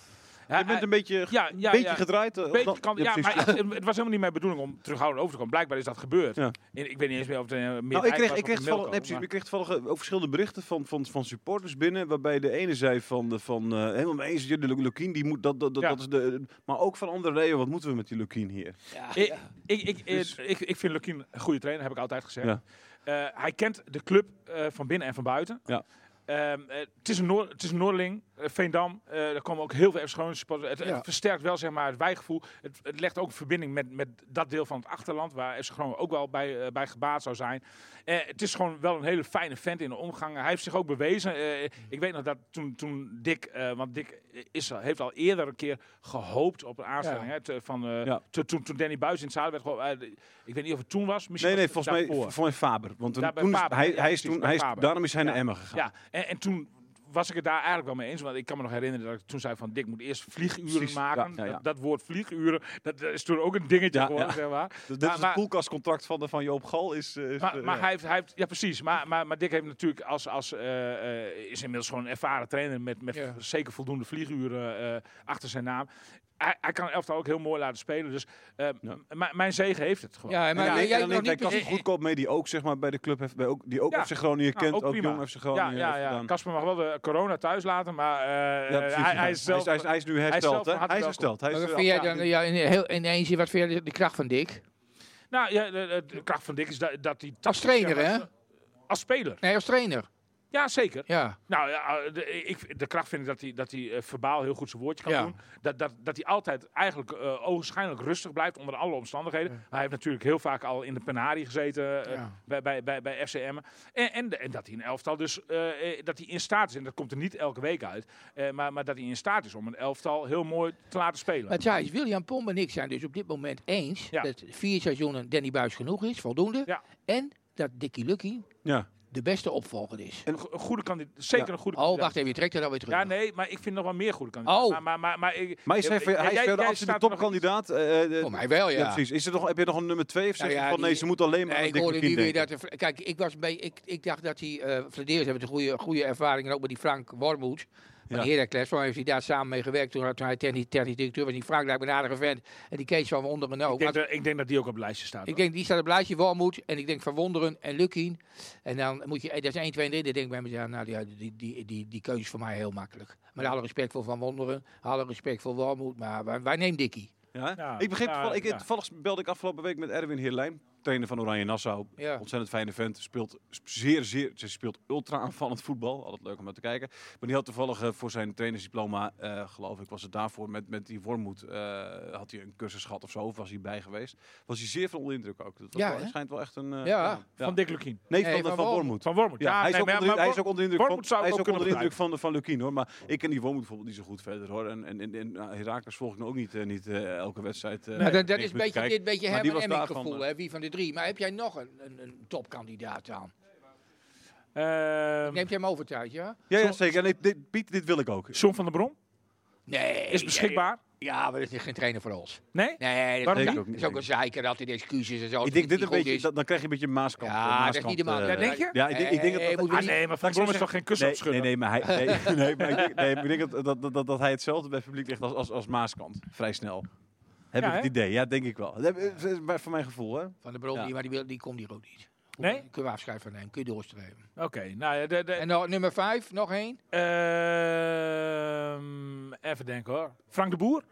Ja, Je bent een eh, beetje, ge- ja, ja, beetje ja. gedraaid. eh, of Beetje dan- kan, ja, ja, precies. maar het, het was helemaal niet mijn bedoeling om terughoudend over te komen. Blijkbaar is dat gebeurd. Ja. En ik weet niet eens meer of het eh, meer Nou, ik hij was kreeg, ik kreeg, of een toevallig- Milko, nee, precies, maar- ik kreeg toevallig eh, ook verschillende berichten van, van, van supporters binnen. Waarbij de ene zei van, eh, van eh, helemaal mee eens, ja, de Lukien, die moet, dat, dat, dat, Ja. dat is de... Maar ook van andere reden, wat moeten we met die Lukien hier? Ik, ik, ik, eh, ik, ik vind Lukien een goede trainer, heb ik altijd gezegd. Dus- Ja. Eh, hij kent de club eh, van binnen en van buiten. Ja. Ehm, eh, het, is een Noor- het is een Noordeling, eh, Veendam, eh daar komen ook heel veel schoon supporters. Het, het Ja. versterkt wel zeg maar, het wijgevoel. Het, het legt ook een verbinding met, met dat deel van het achterland, waar FC Groningen ook wel bij, eh, bij gebaat zou zijn. Eh, het is gewoon wel een hele fijne vent in de omgang. Hij heeft zich ook bewezen. Eh, ik weet nog dat toen, toen Dick, eh, want Dick is, al- heeft al eerder een keer gehoopt op een aanstelling. Ja. Hè, te- van, eh, Ja. to- toen, toen Danny Buis in het zadel werd gegooid, eh, ik weet niet of het toen was. Misschien Nee, nee, was het volgens mij, daarvoor. volgens mij Faber. Want toen, Ja, bij toen is- Faber, hij, ja, hij is precies, toen, bij hij is, Faber. daarom is hij Ja. naar Emmen gegaan. Ja, en, en toen was ik het daar eigenlijk wel mee eens. Want ik kan me nog herinneren dat ik toen zei van... Dick moet eerst vlieguren Precies, ja, maken. ja, ja. Dat, dat woord vlieguren, dat, dat is toen ook een dingetje Ja, geworden, ja. zeg maar. Dit Maar- is maar- het koelkastcontract van, de- van Joop Gal. Is, eh, is, Maar, eh, maar ja. hij heeft, hij heeft, ja precies, maar, maar, maar Dick heeft natuurlijk als, als eh, eh, is inmiddels gewoon een ervaren trainer met, met Ja. zeker voldoende vlieguren eh, achter zijn naam. Hij, hij kan een elftal ook heel mooi laten spelen, dus eh, Ja. m- m- mijn zegen heeft het gewoon. Ja, maar En jij alleen- hebt alleen nog bij niet Casper precies- Goedkoop mee, die ook zeg maar, bij de club heeft, bij ook, die ook Ja. FC Groningen Ja, kent, Nou, ook ook, prima. jong FC Ja, Groningen ja, heeft ja. gedaan. Kasper mag wel de corona thuis laten, maar eh, Ja, precies, hij, ja. hij is zelf... hij, is, hij is nu zelf hersteld, hè? van harte Hij is welkom. hersteld. Hij is Maar eh, wat vind jij afgehaald. dan ja, in, heel, in één zin, wat vind jij de, de kracht van Dick? nou, ja, de, de- de kracht van Dick is dat, dat hij... Als trainer, hè? Als speler, Nee, als trainer. ja zeker. Ja. Nou ja, eh, de, ik, de kracht vind ik dat hij, dat hij eh, verbaal heel goed zijn woordje kan Ja. doen. Dat, dat, dat hij altijd eigenlijk eh ogenschijnlijk rustig blijft onder alle omstandigheden. Hij heeft natuurlijk heel vaak al in de penarie gezeten eh, Ja. bij, bij, bij, bij FCM. En, en, de- en dat hij een elftal dus, eh, eh, dat hij in staat is, en dat komt er niet elke week uit, eh, maar, maar dat hij in staat is om een elftal heel mooi te laten spelen. Maar het saai is, William Pomp en ik zijn dus op dit moment eens Ja. dat vier seizoenen Danny Buis genoeg is, voldoende. Ja. En dat Dickie Lucky Ja. de beste opvolger is. een, go- een goede kandidaat, zeker Ja. een goede Oh, kandidaat. wacht even, je trekt dat alweer terug. Ja, nee, maar ik vind nog wel meer goede kandidaten. Oh. Maar, maar, maar, maar, ik- Maar is hij, jij- hij is jij- wel de jij absolute staat er nog- topkandidaat. eh, eh, Voor Oh, mij wel, ja. ja. precies. Is er nog, heb je nog een nummer twee? Of zeg Nou je ja, van nee, die- ze moet alleen maar Nee, aan ik Dick hoorde Lukien nu weer denken. dat... de Fl- Kijk, ik, was bij, ik, ik dacht dat die eh Vladeers hebben een goede, goede ervaring. En ook met die Frank Wormoed. Van Ja. Heracles. Waar heeft hij daar samen mee gewerkt toen, toen hij technisch, technisch directeur was. Die Frank lijkt me een aardige vent. En die Kees van nou. Wonderen ook. Ik denk, dat, ik denk dat die ook op het lijstje staat. Ik denk, die staat op het lijstje Walmoed. En ik denk Van Wonderen en Lukien. En dan moet je, eh, dat is 1, 2 en 3. Dan denk ik bij mezelf, nou die, die, die, die, die keuze is voor mij heel makkelijk. Met alle respect voor Van Wonderen, alle respect voor Walmoed. Maar wij, wij nemen Dikkie. Ja? Ja, ik begreep, ja, toevallig- ik, ja. toevallig belde ik afgelopen week met Erwin Heerlijn, trainer van Oranje Nassau. Ja. Ontzettend fijne vent. Speelt sp- zeer, zeer, ze speelt ultra aanvallend voetbal. Altijd leuk om naar te kijken. Maar die had toevallig eh, voor zijn trainersdiploma, eh, geloof ik, was het daarvoor met, met die Wormoed. eh, had hij een cursus gehad of zo, of was hij bij geweest. Was hij zeer veel onder de indruk ook. Dat was Ja, wel- hè? schijnt wel echt een... eh, Ja. Van Dick Lukien. Nee, Nee, van, de- van van Wormoed. Wormoed. Van Wormoed. Ja, hij, is nee, ook maar- onder, maar hij Wor- is ook onder de indruk, van, Wormoed zou hij ik is ook ook onder de kunnen indruk van, van Lukien hoor. Maar ik ken die Wormoed bijvoorbeeld niet zo goed verder hoor. En, en, en, nou, Heracles volg ik nou ook niet, eh, niet eh, elke wedstrijd. eh, Nou, dat, dat niks is meer een te beetje, kijken. dit beetje Maar die Herman was Emmink daarvan, gevoel, eh, hè, wie van de drie. Maar heb jij nog een, een, een topkandidaat aan? Ehm, Neemt jij hem over tijd, ja? Ja, ja, zeker. Nee, dit, Piet, dit wil ik ook. John van der Bron Nee. is beschikbaar. Ja, maar dat is geen trainer voor ons. Nee? Nee, dat Waarom is, niet? dat is ook een zeiker, altijd excuses en zo. Ik denk dit een beetje, Is. dat, dan krijg je een beetje een maaskant. Ja, eh, dat is maaskant, niet de maat. eh, Ja, denk je? Ja, ik denk, ik denk Eh, dat... eh, moeten Ah we niet- nee, maar Van der Bron is toch geen kus Nee, nee, opschudden? nee, maar hij, nee, (laughs) nee, maar ik denk, nee, maar ik denk dat, dat, dat, dat hij hetzelfde bij het publiek ligt als, als, als Maaskant. Vrij snel. Heb Ja, ik het hè? idee. Ja, denk ik wel. Dat heb- eh, maar Voor mijn gevoel, hè. Van de Bron, Ja. die, maar die, wil- die komt hier ook niet. Nee? Kun je afscheid van nemen, kun je doorstreven. Oké, nou ja, de, de, En nou, nummer vijf, nog één. ehm, even denken hoor. Frank de Boer?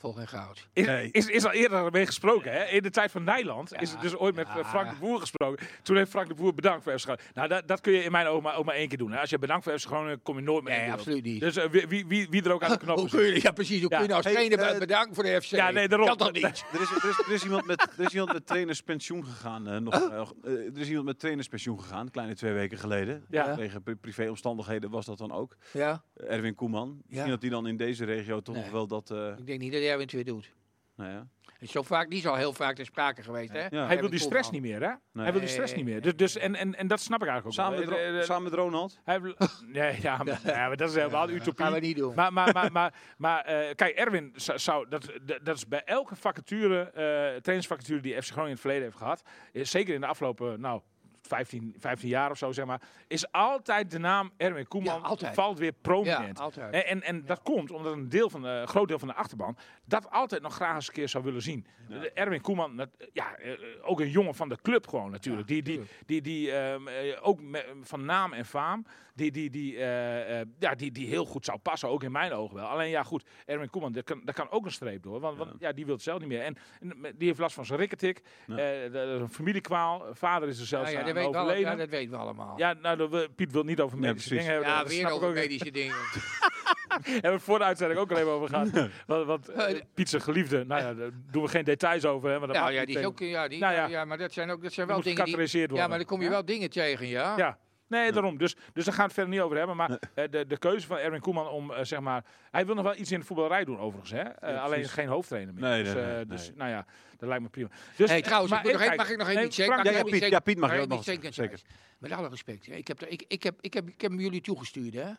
Vol geen goud. Is, Nee. is, is al eerder mee gesproken, hè? In de tijd van Nijland is er dus ooit met ja. eh, Frank de Boer gesproken. Toen heeft Frank de Boer bedankt voor FC Groningen. Nou, dat, dat kun je in mijn ogen maar, ook maar één keer doen. Hè? Als je bedankt voor FC Groningen, kom je nooit meer Nee, in de absoluut niet. wereld. Dus eh, wie, wie, wie, wie er ook aan de knop Hoe is. kun je, ja, precies. Hoe Ja. kun je nou als Hey, trainer eh, be- bedanken voor de FC? Ja, nee, daarom. Kan toch (laughs) niet? Er is, er, is, er, is iemand met, er is iemand met trainerspensioen gegaan. eh, nog, eh, nog, eh, er is iemand met trainerspensioen gegaan, een kleine twee weken geleden. Ja. Tegen pri- privéomstandigheden was dat dan ook. Ja, Eh, Erwin Koeman. Misschien Ja. dat hij dan in deze regio toch Nee. nog wel dat... eh, ik denk niet dat Erwin het weer doet. nou ja. Hij Is zo vaak, die is al heel vaak ter sprake geweest, hè? Ja. Hij wil Erwin die stress Koeman. niet meer, hè? Hij wil die stress niet meer. Dus, dus, en, en, en dat snap ik eigenlijk ook samen, met wel. Eh, Ro- eh, samen met Ronald. Hij wil- (laughs) nee, ja, maar, ja, maar dat is helemaal utopie. Gaan we niet doen. Maar, maar, maar, maar, maar eh, kijk, Erwin zou, zou- dat, dat, dat is bij elke vacature, eh trainingsvacature die FC Groningen in het verleden heeft gehad, is zeker in de afgelopen, nou, 15, 15 jaar of zo, zeg maar, is altijd de naam Erwin Koeman Ja, altijd. valt weer ja, prominent. altijd. En, en, en dat komt omdat een, deel van de, een groot deel van de achterban dat altijd nog graag eens een keer zou willen zien. De- Erwin Koeman, dat, eh, ja, eh, eh, ook een jongen van de club gewoon natuurlijk. die die, die, die ehm, eh, ook me- van naam en faam, die, die, die, eh, eh, ja, die, die heel goed zou passen, ook in mijn ogen wel. Alleen ja, goed, Erwin Koeman, daar kan, daar kan ook een streep door. Want, want ja, die wil het zelf niet meer. En, en die heeft last van zijn rikketik, Ja. eh, dat is een familiekwaal. Vader is er Ja, zelfs ja, aan dat, weet wel, overleden. ja, dat weten we allemaal. ja, nou, dat wil- Piet wil niet over Nee, medische precies. dingen hebben. Ja, dat snap weer ik over ook weer. medische dingen. (laughs) Hebben we voor de uitzending ook alleen maar over (laughs) gehad. Want, want eh, Eh, Piet zijn geliefde, nou ja, daar doen we geen details over. Hè, maar dat Ja, maakt ja, niet die is uit. ook, ja, die, Nou ja. ja, maar dat zijn ook, dat zijn Die wel moet dingen die... gecategoriseerd Ja, worden. maar dan kom je Ja? wel dingen tegen, ja. Ja. Nee, daarom. Dus, dus daar gaan we het verder niet over hebben. Maar eh, de, de keuze van Erwin Koeman om, eh, zeg maar... Hij wil nog wel iets in de voetballerij doen, overigens. Hè? Eh, alleen precies. geen hoofdtrainer meer. Nee, dus, nee, eh, nee, dus nee. nou ja, dat lijkt me prima. Dus, hey, trouwens, maar ik moet nog even één- mag kijken. ik nog even Nee, iets zeggen? Frank, ja, Mag ik jij- nog Piet. iets Ja, zeggen? Piet mag je ik ook nog iets zeggen? zeggen. Met alle respect. Ik heb, er- ik, ik, heb, ik, heb, ik, heb, ik heb hem jullie toegestuurd, hè?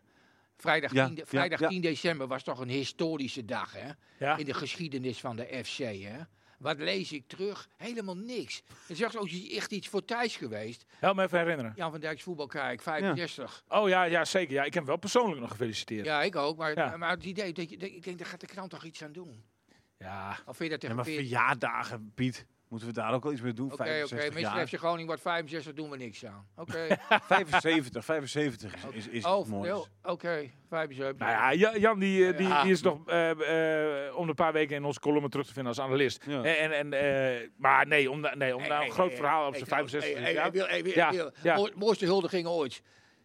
Vrijdag, Ja, 10, de- ja, vrijdag ja. 10 december was toch een historische dag, hè? Ja. In de geschiedenis van de FC, hè? Wat lees ik terug? Helemaal niks. Er is echt, ook echt iets voor Thijs geweest. Help me even herinneren. Jan van Dijk's voetbalkijk, 65. Oh ja, ja zeker. Ja, ik heb hem wel persoonlijk nog gefeliciteerd. Ja, Ja, ik ook. Maar, Ja. maar het idee, dat je, dat- ik denk, daar gaat de krant toch iets aan doen? Of vind je dat Ja, tegen maar Peer- verjaardagen, Piet. Moeten we daar ook wel iets mee doen? Oké, oké. 65 Meestal jaar. heeft je Groningen wordt 65, doen we niks aan. Oké. 75, 75 is, is, is oh, iets moois. heel- oké. 75. Nou ja, Ja- Jan die, eh, die, Ja. die is nog eh, eh, om de paar weken in onze column terug te vinden als analist. Ja. En, en, eh, maar nee, om, da- nee, om Hey, nou hey, een groot hey, verhaal op hey, zijn trouwens, 65 hey, hey, jaar. Wil, hey, Wil, Ja, Wil. ja. Mooi- mooiste huldiging ooit.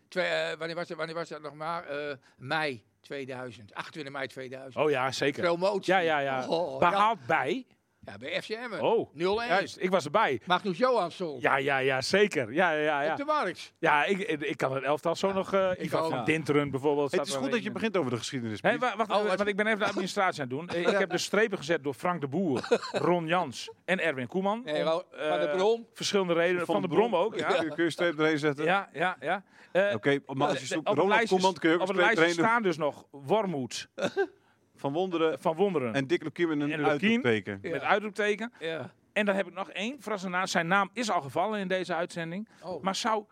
Twee, eh, wanneer, was dat, wanneer was dat nog maar? Eh, mei 2000. 28 mei 2000. Oh ja, zeker. Promotie. Ja, ja, ja. Oh, Behaald bij. ja. Ja, bij FCM. Oh, 0-1. juist. Ik was erbij. Magnus Johansson. Ja, ja, ja, zeker. Ja, ja, ja. Op de markt. Ja, ik, ik, ik kan het elftal zo nog. eh Ivan ook. van Ja. Dinteren bijvoorbeeld. Het staat is er goed wel dat je in. begint over de geschiedenis, Piet. Nee, wa- wacht, Oh, even, wat- want ik ben even de administratie aan het doen. Eh, Ik heb de strepen gezet door Frank de Boer, Ron Jans en Erwin Koeman. Nee, Om, Ro- eh, Van der Brom. Verschillende redenen. Van, de Brom, ook, ja. Kun je- kun je een streep erheen zetten? Ja, ja, ja. Eh, Oké, maar als je eh, zoekt op het Ronald lijstje- Koeman, kun je ook Op een het streep lijstje erheen doen. staan dus nog Wormoed, eh, Van Wonderen Van Wonderen en Dick Lukien met En een Lukien. uitroepteken. Ja. met uitroepteken. Ja. En dan heb ik nog één verrassende naam. Zijn naam is al gevallen in deze uitzending. Oh. Maar zou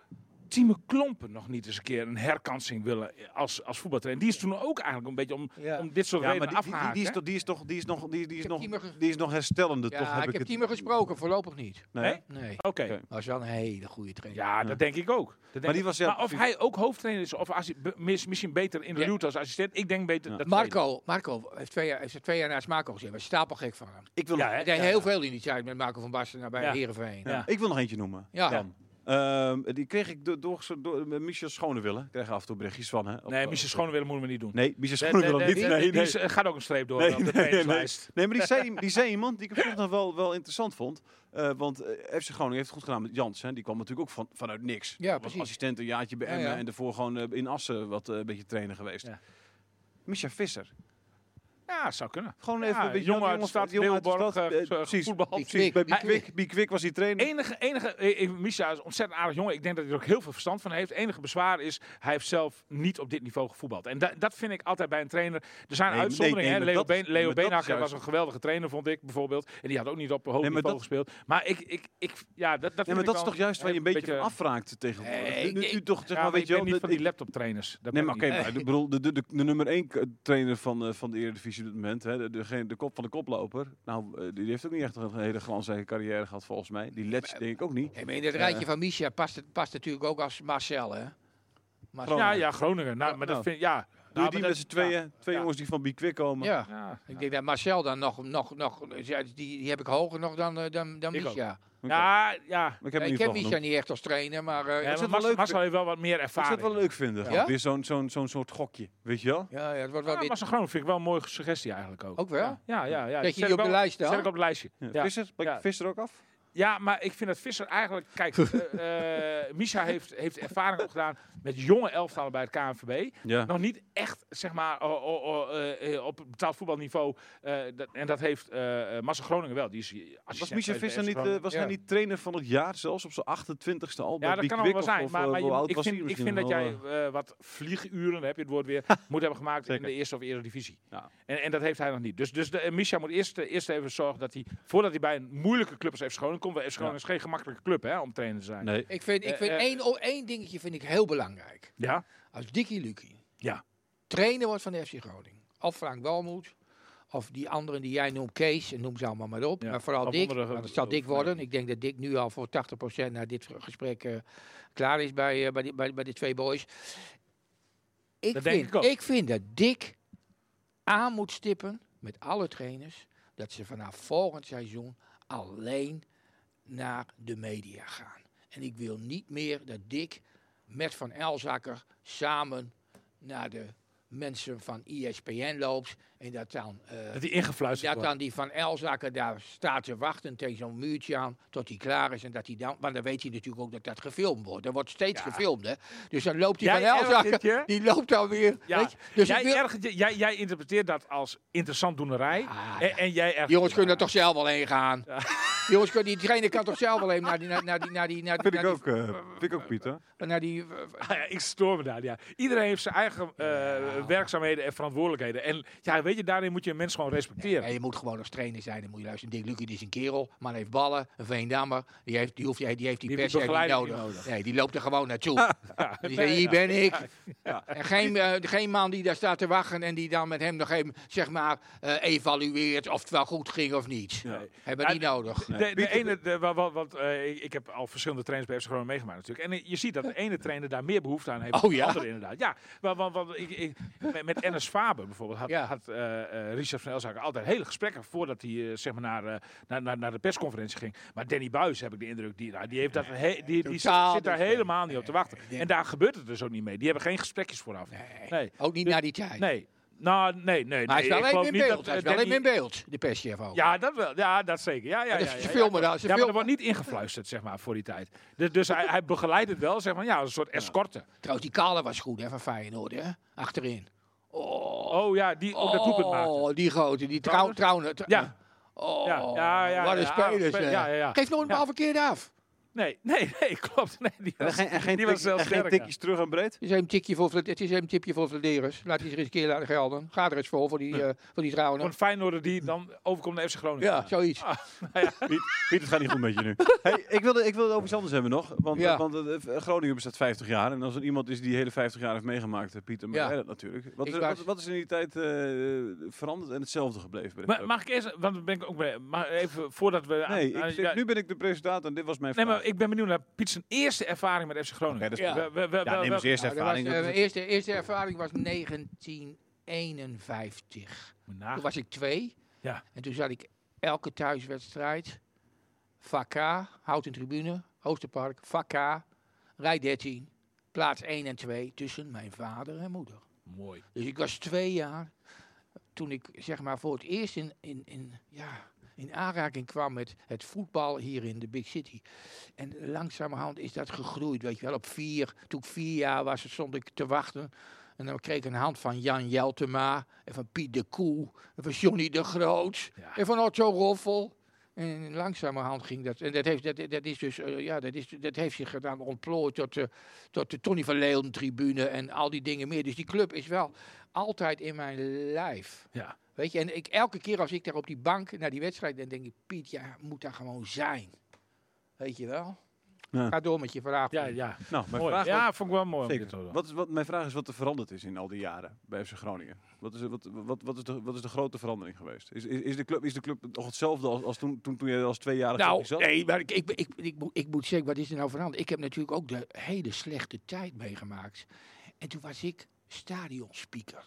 Tieme Klompen nog niet eens een keer een herkansing willen eh, als, als voetbaltrainer? Die is toen ook eigenlijk een beetje om, Ja. om dit soort Ja, maar die, redenen die, die, afgehaakt. die is hè? toch, die is toch, die is nog, die, die is heb nog, Tiemer ge- die is nog herstellende, Ja, toch? ik heb het- Tiemer gesproken, voorlopig niet. Nee? Nee? Nee. Oké. Oké. Maar is wel een hele goede trainer. Ja, dat denk ik ook. Dat denk die ik. was ja maar of precies- hij ook hoofdtrainer is, of assi- be- mis- misschien beter in de Ja. luwte als assistent. Ik denk beter. Ja. Dat tweede. Marco, Marco heeft twee jaar, heeft twee jaar naast Marco gezeten. Was stapelgek van hem. Ik wil, nog, Ja, Hij Ah, hè? deed heel veel in die tijd met Marco van Basten naar bij Ja. Heerenveen. Ja. ik wil nog eentje noemen. Ja. Dan. Ehm, die kreeg ik door, door, door Michel Schonewille. Ik kreeg af en toe berichtjes van. Hè, op- Nee, Michel Schonewille moeten we niet doen. Nee, Michel Schonewille Nee, niet. nee, Nee, nee, nee, die is- eh, gaat ook een streep door Nee, op de nee, trainingslijst. Nee, maar die (laughs) zei, die zei iemand die ik op zich nog wel, wel interessant vond. Eh, want eh, FC Groningen heeft het goed gedaan met Jans. Hè. Die kwam natuurlijk ook van, vanuit niks. Ja, was precies. assistent een jaartje bij Ja, Emmen ja. en daarvoor gewoon eh, in Assen wat eh, een beetje trainer geweest. Ja. Micha Visser. Ja, zou kunnen. Gewoon Ja, even een beetje jongen die uit de stad, jongen uit de Weelborg, stad, eh, eh, ge- precies, gevoetbald. precies. Kwik, Bij die Bikwik, Bikwik was die trainer. Enige, enige, eh, eh, Misha is een ontzettend aardig jongen. Ik denk dat hij er ook heel veel verstand van heeft. Enige bezwaar is, hij heeft zelf niet op dit niveau gevoetbald. En da- dat vind ik altijd bij een trainer. Er zijn Nee, maar- uitzonderingen. nee, nee, hè. Leo, maar dat- Been, Leo nee, maar dat Beenhakker is was juist- een geweldige trainer, vond ik bijvoorbeeld. En die had ook niet op hoog Nee, maar niveau dat- gespeeld. Maar ik, ik, ik ja, Ja, dat, dat vind maar ik dat is wel toch juist waar je een beetje van afraakt tegenwoordig. Nee, Nu- nu, ik- nu toch, Ja, zeg maar, maar weet ik je ben wel... niet van die dat- laptoptrainers. Dat Nee, ben maar ik oké, niet. (laughs) maar ik bedoel, de, de, de, de nummer 1 trainer van, eh, van de Eredivisie op dit moment, hè, de, degene- de kop van de koploper, nou, eh, die heeft ook niet echt een hele glanzige carrière gehad volgens mij. Die Letch denk ik ook eh, niet. Hey, maar in dat rijtje van Misha past, het, past natuurlijk ook als Marcel, hè? Marcel. Ja, ja, Groningen. Nou, maar dat Nou. vind ja. Nou, Doe maar je die dat- met z'n tweeën, ja. twee jongens die van Bikwik komen. Ja. Ja. Ik denk dat Marcel dan nog, nog, nog ja, die, die heb ik hoger nog dan, eh, dan, dan Ik ook. Misha. Oké. Ja, Maar ja. ik Ja, heb hem Ik niet ken van Misha niet echt als trainer, maar... eh, Ja, het maar wel Mas- leuk- Marcel heeft wel wat meer Ik zou ervaring. het wel leuk vinden. gewoon. Ja? Weer zo'n zo'n zo'n soort gokje, weet je wel? ja, ja, het wordt wel Ja, weer... Marcel Groningen vind ik wel een mooie suggestie eigenlijk ook. Ook wel? Ja, ja, ja. Zet je Zet die ik op de wel- lijst dan? Zet ik op het lijstje. Ja. Ja. Visser, pak Ja. je Visser ook af? Ja, maar ik vind dat Visser eigenlijk... (laughs) Kijk, eh, eh, Misha heeft, heeft ervaring opgedaan met jonge elftalen bij het KNVB. Ja. Nog niet echt, zeg maar, o- o- o- eh, eh, op betaald voetbalniveau. eh, dat, en dat heeft eh eh, Marcel Groningen wel. Die is hier Was assistent Michel geweest Visser bij FC niet, eh, Groningen. was hij Ja. niet trainer van het jaar, zelfs op zijn 28ste al? bij Ja, dat kan allemaal wel Bikwik? zijn. Of, Maar, eh, maar je hoe moet- oud ik was vind, hij ik misschien vind dat wel, jij eh? eh, wat vlieguren, dan heb je het woord (laughs) weer, moet hebben gemaakt in Zeker. de eerste of eerste divisie. Ja. En, en dat heeft hij nog niet. Dus, dus de, eh, Misha moet eerst, eh, eerst even zorgen dat hij, voordat hij bij een moeilijke club als FC Groningen komt, want FC Groningen is geen gemakkelijke club hè, om trainer te zijn. Nee. Ik vind, ik Eh, vind eh. één, oh, één dingetje vind ik heel belangrijk. Ja? Als Dickie Lucky Ja. trainer wordt van de FC Groningen, of Frank Walmoed, of die anderen die jij noemt, Kees, en noem ze allemaal maar op. Ja, Maar vooral of Dick, andere, want het eh, zal Dick of- worden. Ik denk dat Dick nu al voor 80% na dit gesprek eh, klaar is bij, eh, bij, die, bij, bij de twee boys. Ik, Dat vind, denk ik ook. vind dat Dick aan moet stippen met alle trainers dat ze vanaf volgend seizoen alleen naar de media gaan. En ik wil niet meer dat Dick met Van Elzakker samen naar de mensen van E ESPN loopt. En dat dan, eh, Dat die ingefluisterd dat wordt. dan die van Elzakker daar staat te wachten tegen zo'n muurtje aan. Tot hij klaar is. En dat hij dan, maar dan weet hij natuurlijk ook dat dat gefilmd wordt. Er wordt steeds gefilmd. Hè? Dus dan loopt die Jij van ergert dit Elzakker. je? Die loopt dan weer. Ja, weet je? Dus ik jij, wil- ergert je- jij, jij interpreteert dat als interessant doenerij. Ah, en, en jij ergert Jongens je kunnen er daaraan. toch zelf wel heen gaan. Jongens, kun- die trainer kan toch zelf wel heen naar die, naar, naar die, naar die, naar, Vind naar ik ook, eh, vind ik ook Pieter. die, naar die Ah eh, ja, ik stoor me daar. Ja. Iedereen heeft zijn eigen eh, werkzaamheden en verantwoordelijkheden. En ja, weet je, daarin moet je een mens gewoon respecteren. Nee, je moet gewoon als trainer zijn. Dan moet je luisteren. Dick Lucie die is een kerel, maar heeft ballen. Een Veendammer, die heeft die, hoeft, die, die heeft die, Die pers heeft heeft die niet begeleiding nodig. niet nodig. Nee, die loopt er gewoon (laughs) naartoe. Die zegt, hier ben ik. En geen, eh, geen man die daar staat te wachten en die dan met hem nog even, zeg maar, eh, evalueert of het wel goed ging of niet. Nee. Hebben we Ja, niet nodig. De, de ene, de, wa- wa- want eh, ik- ik heb al verschillende trainers bij FC Groningen meegemaakt natuurlijk. En eh, je ziet dat de ene trainer daar meer behoefte aan heeft Oh, dan de ja? andere inderdaad. Ja, want, want, want ik, ik, met, met Ernest Faber bijvoorbeeld had, Ja. had eh, eh, Richard van Elzaker altijd hele gesprekken voordat hij eh, zeg maar naar, eh, naar, naar, naar de persconferentie ging. Maar Danny Buis heb ik de indruk, die, nou, die, heeft dat, he- die, die, zit, totaal zit daar niet. helemaal niet op te wachten. nee. En daar gebeurt het dus ook niet mee. Die hebben geen gesprekjes vooraf. Nee. Nee. Ook niet Dus- naar die tijd. Nee. Nou, nee, nee. Maar hij is nee. wel Ik even geloof in niet beeld. dat, Hij is eh, wel Danny- even in beeld, de perschef ook. ja, dat wel. Ja, dat zeker. Ja, ja, ja, Dus ja, ze ja, filmen ja, dat, ja, ze maar er filmen. wordt niet ingefluisterd, zeg maar, voor die tijd. Dus, dus hij, hij begeleidt het wel, zeg maar, ja, als een soort escorte. Trouwens, die Kale was goed hè, van Feyenoord, hè? Achterin. Oh ja, die ook dat doelpunt maakte. Oh, die grote, die trouw, Trouwner? trouwner. Ja, Oh, Ja, ja, ja, wat een ja, speler. spe- zeg. ja, ja, ja. Geef nooit een Ja. bal verkeerd af. nee, nee, nee, (laughs) klopt. Nee, die En was, geen, en geen, die was tik- en zelfs geen sterker. tikjes terug aan breed? Het is even een tikje voor, Vlad- het is even een tipje voor Vladeris. Laat die eens een keer laten gelden. Ga er eens voor, voor die, eh voor die Van trouwner. een Feyenoorder die dan overkomt naar FC Groningen. Ja, zoiets. Piet, Piet, het gaat niet goed met je nu. Hey, ik, wilde, ik wilde het over iets anders hebben nog. Want, Ja. want eh, Groningen bestaat 50 jaar. En als er iemand is die hele 50 jaar heeft meegemaakt, eh, Pieter, maar Ja. jij dat natuurlijk. Wat, Ik is- was- wat, wat is in die tijd eh, veranderd en hetzelfde gebleven? bij de Maar club? mag ik eerst, want dan ben ik ook bij, maar even voordat we... aan- nee, ik aan- zit- ja, nu ben ik de presentator en dit was mijn nee, vraag. maar ik ben benieuwd naar Piet zijn eerste ervaring met FC Groningen. Oké, dat is Ja. We- we- we- Ja, we- neem eens we- eerst Nou, dat was, ervaring. eh, Dat mijn is- eerste, eerste ervaring was 1951. Nou, Toen was ik twee. Ja. En toen zat ik elke thuiswedstrijd. Vak K, Houten Tribune, Oosterpark, Vak K, Rij 13. Plaats 1 en 2 tussen mijn vader en moeder. Mooi. Dus ik was twee jaar toen ik zeg maar voor het eerst in, in, in, ja, in aanraking kwam met het voetbal hier in de Big City. En langzamerhand is dat gegroeid, weet je wel. Op vier, toen ik vier jaar was, stond ik te wachten. En dan kreeg ik een hand van Jan Jeltema en van Piet de Koe en van Johnny de Groot Ja. en van Otto Roffel. En langzamerhand ging dat. En dat heeft, dat, dat is dus, eh, ja, dat, is, dat heeft zich gedaan ontplooid tot, eh, tot de Tony van Leeuwen tribune en al die dingen meer. Dus die club is wel altijd in mijn lijf. Ja. Weet je, en ik, elke keer als ik daar op die bank naar die wedstrijd, dan denk ik, Piet, jij moet daar gewoon zijn. Weet je wel? Ja. Ga door met je vraag. Ja, ja. nou, mijn Mooi. vraag was- Ja, vond ik wel mooi. om dit te Zeker. horen. Wat is, wat, mijn vraag is wat er veranderd is in al die jaren bij FC Groningen. Wat is, wat, wat, wat is, de, wat is de grote verandering geweest? Is, is, is, de, club, is de club nog hetzelfde als, als toen, toen, toen jij als tweejarige Nou, zat? nee, maar ik, ik, ik, ik, moet- ik moet zeggen, wat is er nou veranderd? Ik heb natuurlijk ook de hele slechte tijd meegemaakt. En toen was ik stadionspeaker.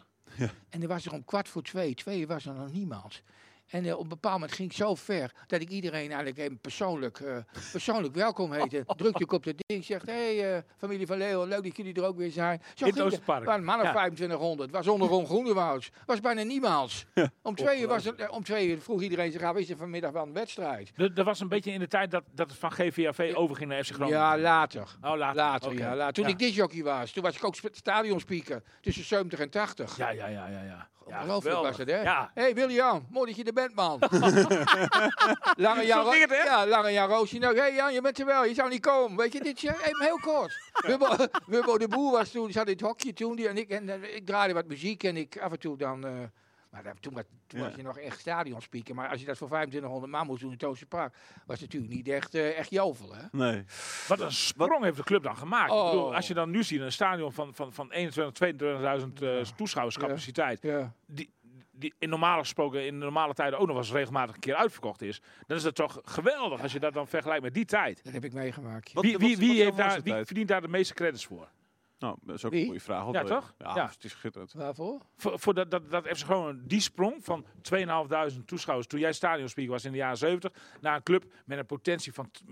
En er was er om kwart voor twee, twee was er nog niemand. En eh, op een bepaald moment ging ik zo ver dat ik iedereen eigenlijk even persoonlijk, eh, persoonlijk welkom (laughs) heette. Drukte ik op de ding, zegt, hé hey, eh, familie van Leeuwen, leuk dat jullie er ook weer zijn. Zo In ging het dat. Oosterpark. waren mannen Ja. 2500, was onder (laughs) Ron Groenewouds, was bijna niemand. Om twee uur, was het, eh, om twee uur vroeg iedereen zich af, is er vanmiddag wel een wedstrijd? Er- Er was een beetje in de tijd dat, dat het van GVAV overging naar FC Groningen. Ja, later. Oh, later. Later, Oké. ja, later. Toen Ja. ik disjockey was, toen was ik ook spe- stadionspeaker. Tussen 70 en 80. Ja, ja, ja, ja. ja. Ongelooflijk was het, hè? Ja. Hé, hey, William, mooi dat je er bent, (laughs) man. lange Jan, Zo ging het, hè? Ja, Lange Jan Roosje. Nou, hé hey Jan, je bent er wel. Je zou niet komen. Weet je, dit jaar, even heel (laughs) kort. Wubbo, Wubbo de Boer was toen, zat in het hokje toen. Die, en ik, en, eh, ik draaide wat muziek en ik af en toe dan... eh, maar dat- toen, was- toen Ja. was je nog echt stadionspeaker. Maar als je dat voor 2500 man moest doen in het Oosterpark... was het natuurlijk niet echt, eh, echt jovel, hè? Nee. Wat een sprong heeft de club dan gemaakt. Oh. Ik bedoel, als je dan nu ziet, een stadion van, van, van 21.000, 22.000 eh, toeschouwerscapaciteit. Ja. Die, die in normaal gesproken, in normale tijden ook nog wel eens regelmatig een keer uitverkocht is. Dan is dat toch geweldig als je dat dan vergelijkt met die tijd. Dat heb ik meegemaakt. Wat- Wie, wat- wie, wat wie, was heeft jouw daar, mooiste wie tijd? verdient daar de meeste credits voor? Nou, dat is ook Wie? een goede vraag. hoor. Ja, toch? Ja, Ja. het is schitterend. Waarvoor? Voor, voor dat, dat, dat FC Groningen die sprong van 2.500 toeschouwers toen jij stadionspeaker was in de jaren 70 naar een club met een potentie van t-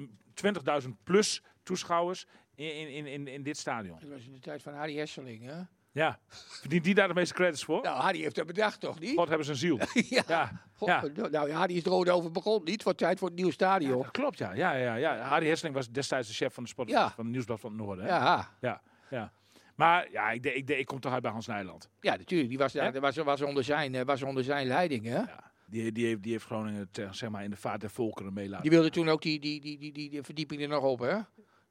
20.000 plus toeschouwers in, in, in, in dit stadion. Dat was in de tijd van Harry Hesseling, hè? Ja. Verdient die daar de meeste credits voor? Nou, Harry heeft dat bedacht, toch niet? God hebben ze een ziel. (laughs) ja. Ja. God, ja. Nou ja, Harry is er ook over begonnen. Niet voor tijd voor het nieuwe stadion. Dat klopt, ja. Ja, ja, ja. Harry Hesseling was destijds de chef van, de sport, Ja. van het Nieuwsblad van het Noorden. Ja, hè? ja. Ja, ja. Maar ja, ik, denk- ik, denk- ik kom toch uit bij Hans Nijland. natuurlijk. Die was, daar, Ja. was, was, onder zijn, eh, was onder zijn leiding, hè? Ja. Die, die, heeft, die heeft Groningen te- zeg maar, in de vaart der volkeren meelaten. Die wilde toen ook die, die, die, die, die, die verdieping er nog op, hè?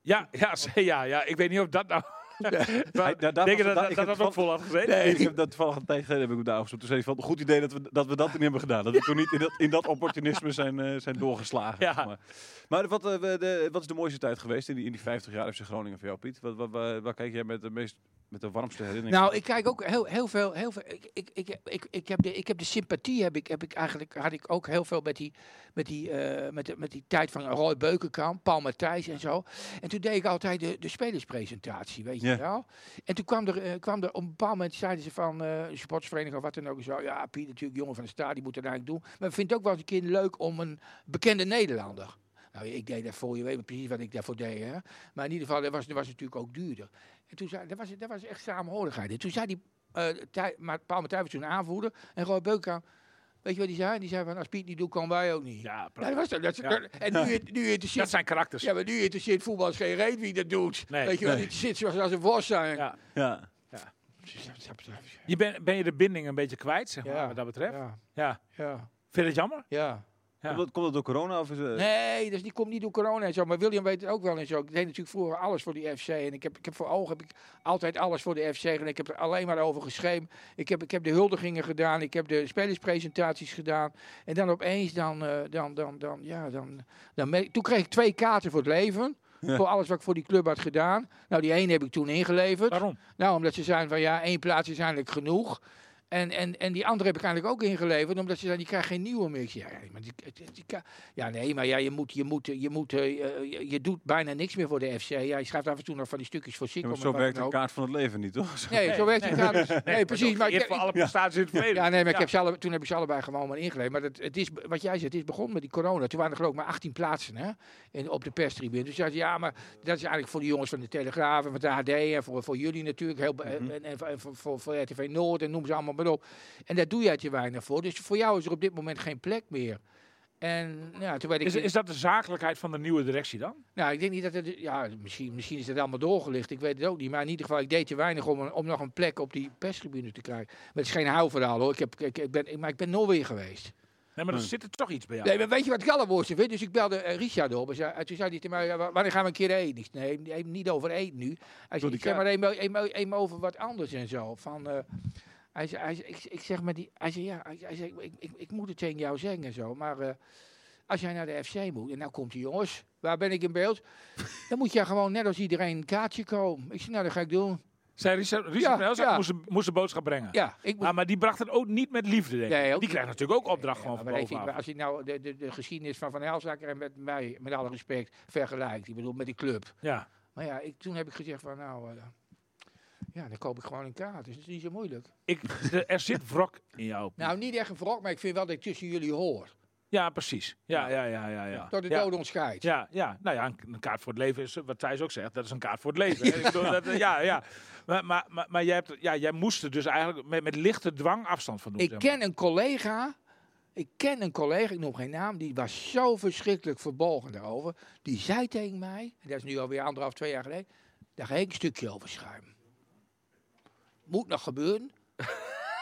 Ja, ja, (laughs) ze- ja, ja, ik weet niet of dat (laughs) nou... (laughs) Hij- daar- daar denk je was- dat daar- dat, ik dat, heb ook vol had gezeten? Ik heb dat toevallig een tijd geleden heb Dus ik hem daar opgezocht. Toen zei hij van, goed idee dat we dat, we dat niet hebben gedaan. Dat we toen niet in dat, in dat opportunisme zijn, eh, zijn doorgeslagen. Ja. zeg maar maar wat, eh, we- de- wat is de mooiste tijd geweest in die, in die 50 jaar FC Groningen voor jou, Piet? Wat, wat, waar, waar kijk jij met de, meest, met de warmste herinnering? Nou, ik kijk ook heel, heel veel. Heel veel ik, ik, ik, ik, ik, heb de, ik heb de sympathie, heb ik, heb ik eigenlijk, had ik ook heel veel met die, met die, eh, met de, met die tijd van Roy Beukenkamp, Paul Matthijs en zo. En toen deed ik altijd de, de spelerspresentatie, weet je Ja. wel. En toen kwam er, eh, kwam er op een bepaald moment, zeiden ze van eh een sportsvereniging of wat dan ook. en Zo, ja, Piet, natuurlijk, jongen van de stad, die moet dat eigenlijk doen. Maar ik vind het ook wel eens een keer leuk om een bekende Nederlander. Nou, ik deed daarvoor, je weet maar precies wat ik daarvoor deed. Hè? Maar in ieder geval, dat was, dat was natuurlijk ook duurder. En toen zei, dat was, dat was echt samenhorigheid. En toen zei die, eh Thij- maar Paul Matthijs was toen aanvoerder. En Roy Beuka, weet je wat die zei? Die zei van, als Piet niet doet, komen wij ook niet. Ja, Nou, dat was, dat, (laughs) dat, Ja. En nu, nu dat interesseert... zijn karakters. Ja, maar nu interesseert voetbal geen reet wie dat doet. Nee. Weet je wel, Nee. die zit zoals als een worst zijn. Ja. ja. Je ben, ben je de binding een beetje kwijt, zeg maar, Ja. wat dat betreft? Ja. Ja, ja, Vind je dat jammer? ja. Ja. Komt, dat, komt dat door corona? Of is, eh, Nee, dus die komt niet door corona en zo. Maar William weet het ook wel en zo. Ik deed natuurlijk vroeger alles voor die FC. En ik heb, ik heb voor ogen heb ik altijd alles voor de FC. En ik heb er alleen maar over geschreven. Ik heb, ik heb de huldigingen gedaan. Ik heb de spelerspresentaties gedaan. En dan opeens, dan, eh, dan, dan, dan, ja, dan, dan merk- toen kreeg ik twee kaarten voor het leven. Ja. Voor alles wat ik voor die club had gedaan. Nou, die ene heb ik toen ingeleverd. Waarom? Nou, omdat ze zeiden van ja, één plaats is eigenlijk genoeg. En, en, en die andere heb ik eigenlijk ook ingeleverd, omdat ze zeiden, die krijgt geen nieuwe meer. Ik zei, ja, maar die, die- die ka- ja, nee, maar ja, je, moet, je, moet, eh, je, moet, eh, eh, je, je doet bijna niks meer voor de FC. Ja, je schrijft af en toe nog van die stukjes voor ja, Sikkel. maar zo maar wat werkt dan de ook. kaart van het leven niet, toch? Zo- Nee, zo Nee, werkt die kaart. dus- Nee, precies. Maar ik, Eer voor alle prestaties in het ik- verleden. ja, nee, maar ik heb ze alle, toen heb ik ze allebei gewoon maar ingeleverd. Maar het, het is, be- wat jij zegt, het is begonnen met die corona. Toen waren er geloof ik maar 18 plaatsen hè, in, op de perstribune. Dus zei ze, ja, maar dat is eigenlijk voor de jongens van de Telegraaf en van de AD en voor, voor jullie natuurlijk. Heel, be- Mhm. En, en, en voor, voor, voor RTV Noord en noem ze allemaal maar op. En daar doe jij te weinig voor. Dus voor jou is er op dit moment geen plek meer. En ja, toen werd ik... Is, is dat de zakelijkheid van de nieuwe directie dan? Nou, ik denk niet dat het. Ja, misschien, misschien is dat allemaal doorgelicht. Ik weet het ook niet. Maar in ieder geval, ik deed te weinig om, een- om nog een plek op die perstribune te krijgen. Maar het is geen huilverhaal hoor. Ik heb, ik, ik ben, ik- maar ik ben nooit weer geweest. Nee, maar er Nee. zit er toch iets bij jou. Nee, maar weet je wat ik allerwoordste vind? Dus ik belde eh, Richard op. En, zei, en toen zei hij tegen mij: ja, wa- Wanneer gaan we een keer eten? Ik zei, nee, nee, niet over eten nu. Door Hij zei: die Ik zeg maar even, even, even over wat anders en zo. Van, eh, hij zei, hij zei, ik, ik zeg maar die. Hij zei: Ja, hij, hij zei, ik, ik, ik, ik moet het tegen jou zeggen en zo. Maar. eh, als jij naar de FC moet, en nou komt die jongens, waar ben ik in beeld? (laughs) Dan moet jij gewoon net als iedereen een kaartje komen. Ik zeg, nou, dat ga ik doen. Zij Richard, Richard Ja, van Elzak ja. moest, een- moest een boodschap brengen. Ja, ik moet. Ah, maar die bracht het ook niet met liefde, denk ik. Nee, ook die niet. krijgt natuurlijk ook opdracht gewoon Ja, van maar ik vind, bovenaf. als je nou de, de, de geschiedenis van Van Helzaker en met mij, met alle respect, vergelijkt. Ik bedoel, met die club. Ja. Maar ja, ik, toen heb ik gezegd van, nou, eh, ja, dan koop ik gewoon een kaart. Dus het is niet zo moeilijk. Ik, er- er zit wrok in jou. Nou, niet echt een wrok, maar ik vind wel dat ik tussen jullie hoor. Ja, precies. Ja, ja, ja, ja. ja. Dat de ja. dood ons scheidt. Ja, ja, nou ja, een, een kaart voor het leven is, eh, wat Thijs ook zegt, dat is een kaart voor het (laughs) leven. hè. Ik bedoel, dat, eh, ja, ja. Maar, maar, maar, maar jij, hebt, ja, jij moest er dus eigenlijk met, met lichte dwang afstand van doen. Ik zeg maar. ken een collega, ik ken een collega, ik noem geen naam, die was zo verschrikkelijk verbolgen daarover. Die zei tegen mij, en dat is nu alweer anderhalf, twee jaar geleden, daar ga ik een stukje over schrijven. Moet nog (laughs) gebeuren.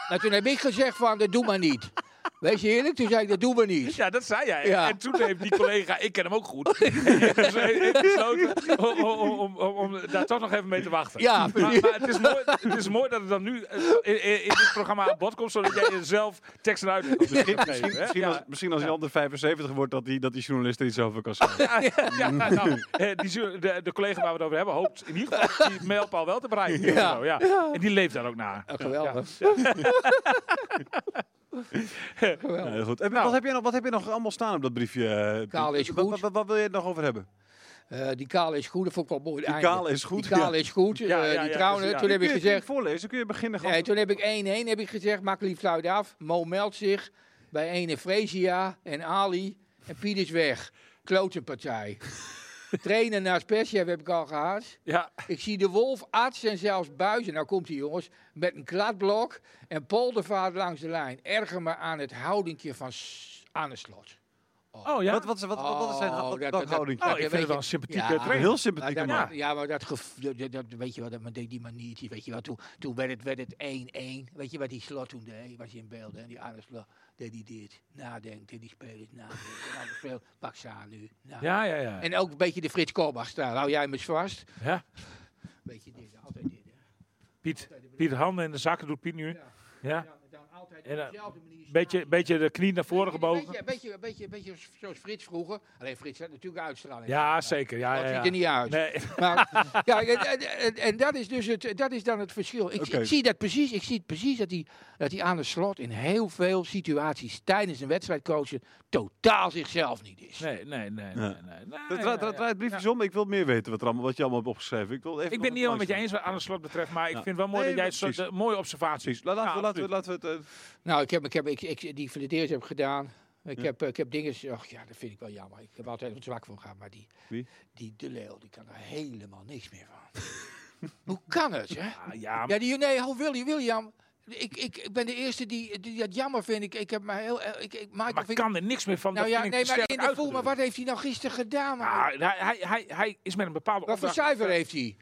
maar toen heb ik gezegd van, dat doen we niet. Wees je eerlijk, toen zei ik, dat doen we niet. Ja, dat zei jij. Ja. En toen heeft die collega, ik ken hem ook (laughs) goed, (laughs) dus heeft besloten om, om, om, om, om daar toch nog even mee te wachten. Ja, maar, maar het, is mooi, het is mooi dat het dan nu eh, in, in- in dit programma aan bod komt, zodat jij er zelf tekst en uitleg op Misschien, kunt misschien, geven, (laughs) hè? misschien Ja. als, misschien als Jan de 75 wordt, dat die, dat die journalist er iets over kan zeggen. Ja, (laughs) ja, nou, eh, die, zu- de, de collega waar we het over hebben hoopt in ieder geval (laughs) die mailpaal wel te bereiken. of Ja. zo, ja. En die leeft daar ook naar. Oh, geweldig. Ja, heel goed. Heb- wat, heb je nog, wat heb je nog allemaal staan op dat briefje? eh, Piet? Oh. Nou. Kaal is Wat- goed. Wat, wat, wil je het nog over hebben? Eh, die kale is goed, dat vond ik wel mooi. Die kale is goed. Die kale ja. is goed, eh, Ja, ja, ja, die trouwen. dus ja. Toen heb Kun ik je- kun je gezegd, voorlezen? Dan kun je beginnen. gewoon. Nee, toen heb ik 1-1 heb ik gezegd, maak lief fluit af. Mo meldt zich (laughs) bij ene Fresia en Ali. En Piet is weg. Klote partij. Trainen naar Persia heb ik al gehaast. Ja, Ik zie de wolf, arts en zelfs buizen. Nou komt hij jongens, met een kladblok en poldervaart langs de lijn. Erger me aan het houdinkje van S- aan de slot. oh ja. Wat, wat, wat, wat, wat is zijn Oh, wat- dat- welk dat- houding? dat- oh, ik vind weet het wel je- een sympathieke Ja. trainer. Heel Maar sympathiek dat, man. maar- ja, maar dat, gef- dat, dat- dat- weet je wat, dat, deed die manier, weet je wat, toen, toen werd het werd het 1-1, weet je wat die slot toen deed, was je in beeld, hè, die Arne slot, deed die dit, nadenkt, en die spelers nadenken, nou, veel, pak ze aan nu. Nou. Ja, ja, ja. En ook een beetje de Frits Korbach, daar hou jij me eens vast, ja. beetje dit, altijd dit. hè. Piet, Piet, handen in de zakken doet Piet nu. Ja. Ja. Ja, dan altijd En, op eh, dezelfde manier staan. Beetje, beetje de knie naar voren Een gebogen. beetje, een beetje, een beetje, een beetje zoals Frits vroeger. Alleen Frits had natuurlijk uitstraling. Ja, zeker. Ja, Dat ja, ziet ja. er niet uit. Nee, (laughs) Maar, ja, en, en- en- en dat is dus het, dat is dan het verschil. Ik, Oké. ik zie dat precies. Ik zie het precies dat die, dat die aan de slot in heel veel situaties tijdens een wedstrijd coachen totaal zichzelf niet is. nee, nee, nee. nee, nee, nee, Dat nee, draait dat nee. draait briefjes om. Ik wil meer weten wat, er allemaal, wat je allemaal hebt opgeschreven. Ik, wil even Ik ben nog het niet helemaal langs met je gaan. eens wat aan de slot betreft, maar ik Ja. vind wel mooi Nee, dat jij het precies. soort, eh, mooie observaties. Precies. La- Laten, we, Ja, laten, we, laten we het... eh, Nou, ik heb, ik heb ik, ik, die Fladeers heb ik gedaan. Ik, Ja. heb, eh, ik heb dingen. Och ja, dat vind ik wel jammer. Ik heb altijd wat zwak voor gehad. Maar die, Wie? die De Leeuw, die kan er helemaal niks meer (laughs) van. Hoe kan het, hè? Ah, ja, Ja, die, nee, oh, Willy, William. Ik, ik, ik ben de eerste die, die dat jammer vind. Ik, ik heb mij heel. eh, Ik, ik, Michael, maar vind ik- kan er niks meer van. nou dat ja, vind nee, ik te maar in sterk de voel, maar uitgedrukt. wat heeft hij nou gisteren gedaan? man? Ah, hij, hij, hij, hij is met een bepaalde wat voor opdracht eh, cijfer heeft hij?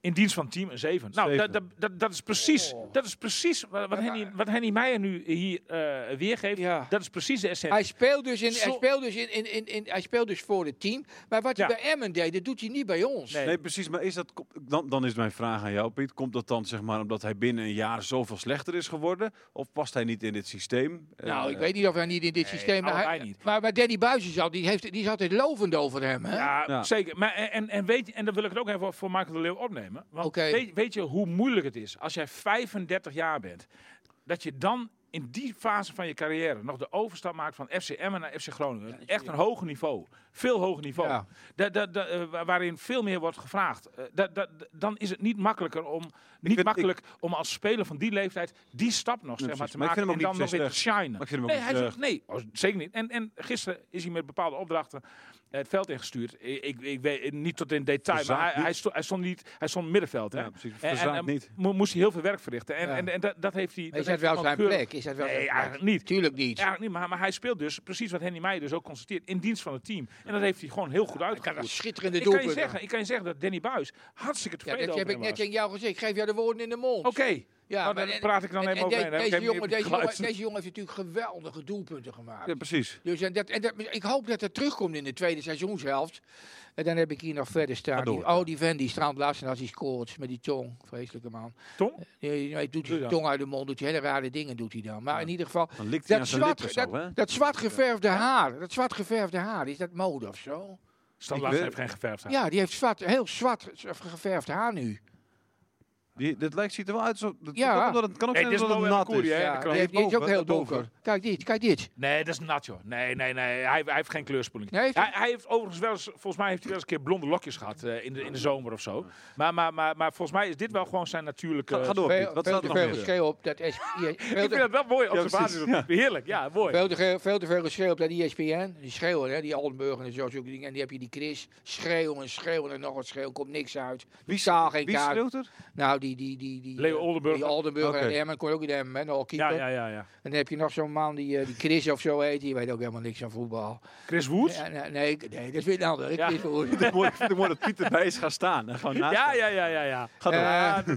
in dienst van team een 7. Nou, Zeven. dat, dat, dat, dat is precies, Oh. dat is precies wat, wat, Ja, Henny, maar- wat Henny Meijer nu hier eh, weergeeft. Ja. Dat is precies de essentie. Hij speelt dus, in, hij Zo- speelt dus, in, in, in, in- hij speelt dus voor het team. Maar wat Ja. hij bij Emmen deed, dat doet hij niet bij ons. Nee. Nee, precies. Maar is dat, kom- dan, dan is mijn vraag aan jou, Piet. Komt dat dan zeg maar omdat hij binnen een jaar zoveel slechter is geworden? Of past hij niet in dit systeem? Nou, Eh, ik weet niet of hij niet in dit systeem... Maar, allebei hij, niet. maar, maar Danny Buizen zat, die, heeft, die is altijd lovend over hem. Hè? Ja, Ja. zeker. Maar, en, en- en, weet, en dan wil ik het ook even voor Michael de Leeuw opnemen. Want Oké. weet, weet je hoe moeilijk het is als jij 35 jaar bent, dat je dan in die fase van je carrière nog de overstap maakt van FC Emmen naar FC Groningen. Echt een hoger niveau. Veel hoger niveau. Ja. Da- da- da- eh, wa- waarin veel meer wordt gevraagd. Eh, da- da- da- dan is het niet makkelijker om, niet vind- makkelijk om als speler van die leeftijd die stap nog zeg maar, precies. te Maar ik maken vind hem en dan ook nog niet weer te zo shinen. Maar ik vind hem ook Nee, niet hij slecht. zegt, nee, oh, zeker niet. En, en gisteren is hij met bepaalde opdrachten eh, het veld ingestuurd. Ik, ik, ik weet eh, niet tot in detail, Verzaakt maar hij, niet. hij, stond, hij stond niet, hij stond middenveld. Hè? Ja, precies. En- en- Verzaakt en niet. mo- moest hij heel veel werk verrichten. En, Ja. en, en dat, dat heeft hij. is dat heeft wel hij zijn gewoon keurig- plek? Is dat wel Nee, zijn plek? eigenlijk niet. Tuurlijk niet. Eigenlijk niet, maar, maar hij speelt dus precies wat Henny Meijer dus ook constateert in dienst van het team. En dat heeft hij gewoon heel goed Ik had een uitgevoerd. schitterende Ik kan, je doelpunt. zeggen, ik kan je zeggen dat Danny Buis hartstikke Ja, tevreden dat heb over ik hem net was. tegen jou gezegd. Ik geef jou de woorden in de mond. Oké, Ja, nou, maar dan en- praat ik dan en- even en de- overheen. Dan heb ik deze, even jongen, niet deze, jongen, geluisterd. deze jongen heeft natuurlijk geweldige doelpunten gemaakt. Ja, precies. Dus en dat, en dat, ik hoop dat dat terugkomt in de tweede seizoenshelft. En dan heb ik hier nog verder staan. Ga door, Die, ja. oh, die vent die straamt laatst en als hij scoort met die tong. Vreselijke man. Tong? Nee, nee, doet Doe hij dan. tong uit de mond, doet hij hele rare dingen doet hij dan. Maar in ieder geval, Dan likt hij aan dat zijn zwart, lippen dat, zo, hè? dat zwart geverfde haar, dat zwart geverfde haar, is dat mode of zo? Standaard Ik weet- heeft geen geverfd haar. Ja, die heeft zwart, heel zwart ge- geverfd haar nu. Die, dit lijkt, ziet er wel uit alsof... Dat, Ja. dat komt omdat het kan ook Nee, zijn dit is dat het Noël nat is. Koeri, hè? Ja, dat die, klopt. heeft- die is Boven, ook heel daarboven. donker. Kijk dit, kijk dit. Nee, dat is nat, joh. Nee, nee, nee. Hij, hij heeft geen kleurspoeling. Nee, heeft hij, hij- hij heeft overigens wel eens, volgens mij heeft hij wel eens een keer blonde lokjes gehad eh, in, de, in de zomer of zo. Maar, maar, maar, maar volgens mij is dit wel gewoon zijn natuurlijke... Ga, ga door, Piet. Veel, Wat veel staat te er nog veel meer? geschreeuw op dat SP, (laughs) veel Ik vind te- dat wel mooi Ja, observatie. precies. Heerlijk, ja, mooi. Veel te, veel, veel te veel geschreeuw op dat E ESPN. Die schreeuwen, hè, die Altenburg en zo. zo'n ding. En die heb je die Chris. Schreeuwen en schreeuwen en nog wat schreeuwen. Komt niks uit. Wie, Zaal geen wie kaart. schreeuwt er? Nou, die... die, die, die Leo eh, Oldenburg. Die Aldenburg Oké. en Emmen. Kon je ook in de Emmen, hè, de Ja, goalkeeper. ja, ja, ja. En dan heb je nog zo'n man die, eh, die Chris of zo heet. Die weet ook helemaal niks van voetbal. Chris Woods? Ja, nee, nee, ik- nee, dat is weer een ander. Ja. Chris Woerd. Ik vind het mooi- ik (laughs) vind het mooi dat Piet erbij is gaan staan. En gewoon naast Ja, hem. ja, ja, ja, ja. Ga door. Eh,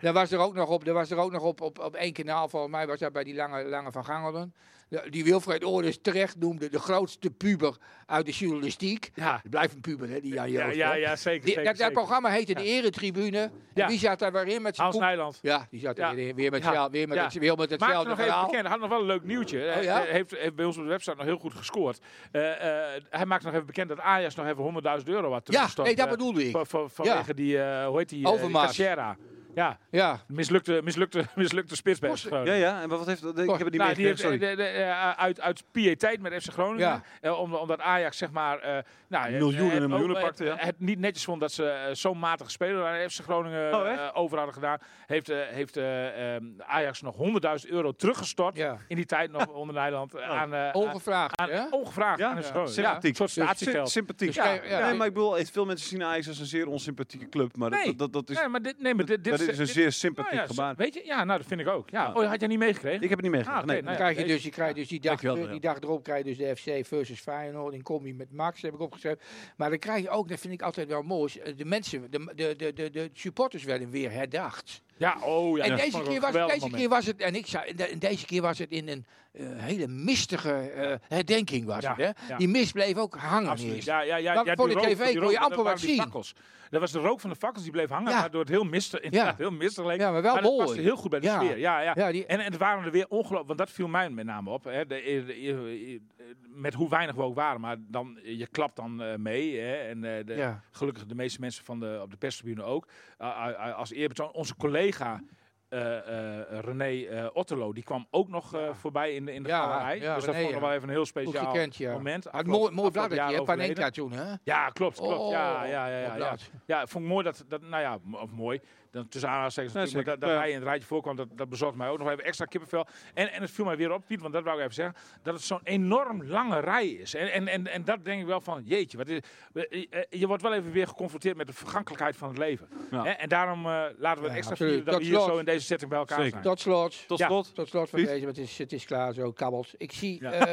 daar was er ook nog op, daar was er ook nog op, op, op één kanaal, volgens mij was dat bij die lange, lange van Gangelen. De- Die Wilfred Oorders terecht noemde de grootste puber uit de journalistiek. Ja. Het blijft een puber, hè, die Jan Ja, Joost. ja, hè. ja, zeker, Die- zeker, dat, dat zeker. programma heette de Eretribune. En Ja. Wie zat daar weer in met zijn Hans koek- Nijland. Ja, die zat er Ja. weer in, weer met, Ja. zel- weer met, Ja. het- weer met Maak het hetzelfde nog even verhaal. Oh, bekend. Hij had nog wel een leuk nieuwtje. Hij ja? eh, heeft, heeft bij ons op de website nog heel goed gescoord. Eh, eh, hij maakt nog even bekend dat Ajax nog even 100.000 euro had Ja, teruggestort. nee, dat eh, bedoelde ik. van- van- Vanwege die, eh, hoe heet die? eh, die Overmars. Teixeira. Ja, Ja. mislukte, mislukte, (laughs) mislukte spits bij FC Ja, Groningen. ja. En wat wat heeft dat? Ik heb het niet Nou, die meer. heeft, eh, Sorry. de- de- eh, uit, uit piëteit met FC Groningen. Ja. eh, om- omdat Ajax zeg maar... eh, nou, eh, Miljoenen en eh, miljoenen ook, eh, pakte, ja. Het niet netjes vond dat ze eh, zo'n matige speler aan FC Groningen Oh, echt? eh, over hadden gedaan. Heeft, eh, heeft eh, ehm, Ajax nog 100.000 euro teruggestort. ja. In die tijd nog onder (laughs) Nederland. Oh. eh, aan, eh, aan- Ongevraagd, aan- hè? Ongevraagd Ja, aan FC ja. Groningen. Sympathiek. Ja, een soort Sym- statiegeld. Sympathiek. Dus jij- ja. Nee, maar ik bedoel, eh, veel mensen zien Ajax als een zeer onsympathieke club. Maar dat- Nee. dat, dat, is, Nee, maar dit, nee, maar dit, dit dat is een dit- zeer nou sympathiek ja, gebaar. Weet je? Ja, nou, dat vind ik ook. Ja. Ah. Ja. Oh, had jij niet meegekregen? Ik heb het niet Ah, meegekregen. oké, nee. nou Dan ja. krijg je deze- dus, je krijgt dus die, dag, Dankjewel, eh, ja. die dag erop krijg je dus de FC versus Feyenoord in combi met Max, heb ik opgeschreven. Maar dan krijg je ook, dat vind ik altijd wel mooi, is, eh, de mensen, de, de, de, de, de supporters werden weer herdacht. Ja, oh ja. en dat deze, vond ik keer een was, geweldig deze moment. keer was het, en ik zei, de- en deze keer was het in een eh, hele mistige eh, herdenking was Ja, het, hè? ja. Die mist bleef ook hangen Absoluut. eerst. Ja, ja, ja, Dat ja, voor die de rook- TV die kon rook- je amper dat waren wat die zien. fakkels. Dat was de rook van de fakkels die bleef hangen, Ja. waardoor het heel mistig, inderdaad, heel mistig leek. Ja, maar wel maar dat paste mooi. heel goed bij de Ja. sfeer. Ja, ja. Ja, die, En, en het waren er weer ongelooflijk, want dat viel mij met name op. Hè. De, eh, de- de- met hoe weinig we ook waren, maar dan, je klapt dan eh, mee. Hè. En eh, de, ja. gelukkig de meeste mensen van de, op de perstribune ook. Uh, uh, uh, als eerbetoon, onze collega eh, eh, René eh, Otterlo, die kwam ook nog eh, voorbij in de, in de Ja, galerij. ja, dus dat René, vond ik nog ja. wel even een heel Goed speciaal gekend, ja. moment. Had Afgelopen- mooi, mooi afgelopen bladertje, jaar hè? overleden. Panenka toen, hè? Ja, klopt, klopt. ja, Oh, ja, ja, ja, mooi ja. blad. ja, ik vond ik mooi dat, dat nou ja, m- of mooi, dan tussen aanhalingstekens Nee, natuurlijk, maar zeker. Ja. dat, dat hij in het rijtje voorkwam, dat, dat bezorgde mij ook nog even extra kippenvel. En, en het viel mij weer op, Piet, want dat wou ik even zeggen, dat het zo'n enorm lange rij is. En, en, en, en dat denk ik wel van, jeetje, wat is, eh, eh, je wordt wel even weer geconfronteerd met de vergankelijkheid van het leven. Ja. Hè, En daarom eh, laten we Ja, het extra absoluut. vieren dat Dat we hier klopt. zo in deze setting bij elkaar Zeker. zijn. Tot slot. Tot Ja. slot. Tot slot van Piet? deze, want het is, het is klaar zo, kabbels. Ik zie Ja. (laughs) eh,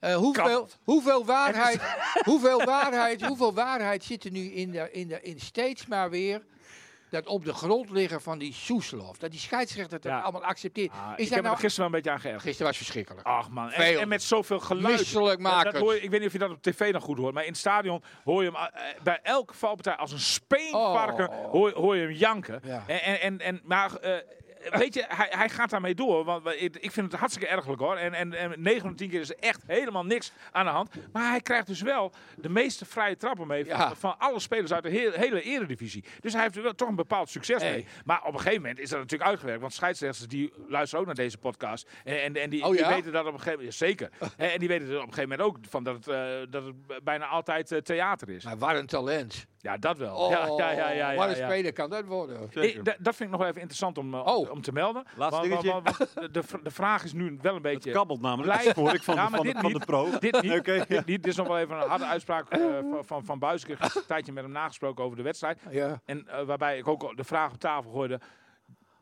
eh, hoeveel, Kabbelt. hoeveel, waarheid, hoeveel, waarheid, hoeveel waarheid zit er nu in, de, in, de, in steeds maar weer dat op de grond liggen van die Soeslof. Dat die scheidsrechter dat Ja. allemaal accepteert. Ah, ik is heb Ah. dat me er nou... gisteren wel een beetje aan geërgerd. Gisteren was verschrikkelijk. Ach man, en, Veel. en met zoveel geluid. Misselijk Ja, maken. Dat hoor je, ik weet niet of je dat op tv nog goed hoort, maar in het stadion hoor je hem eh, bij elke valpartij als een speenvarken Oh. hoor, je- hoor je hem janken. Ja. En, en, en, en, maar eh, weet je, hij, hij gaat daarmee door, want we- ik ik vind het hartstikke ergelijk hoor. En, en, en 9 van de 10 keer is er echt helemaal niks aan de hand. Maar hij krijgt dus wel de meeste vrije trappen mee van, Ja. van alle spelers uit de heel- hele eredivisie. Dus hij heeft er wel toch een bepaald succes mee. Hey. Maar op een gegeven moment is dat natuurlijk uitgewerkt, want scheidsrechters die luisteren ook naar deze podcast. En, en, en die, Oh die ja? weten weten dat op een gegeven moment. (laughs) Zeker. Hè, en die weten er op een gegeven moment ook van dat het, eh, dat het bijna altijd eh, theater is. Maar wat een talent. Ja, dat wel. Nou. Oh, ja, ja, ja, ja, ja, wat een ja. speler kan dat worden. Zeker. Ik- da- dat vind ik nog wel even interessant om, eh, Oh. om te melden. Laatste dingetje. want de, vr- de vraag is nu wel Het een beetje. kabbelt namelijk. Blij- Dat hoor ik van, Ja, de, maar van, de, dit van de niet. pro. Dit (laughs) niet. Oké. Dit, niet. Dit is nog wel even een harde uitspraak eh, van, van, van Buijs. Ik heb een tijdje met hem gesproken over de wedstrijd. Ja. En eh, waarbij ik ook al de vraag op tafel gooide.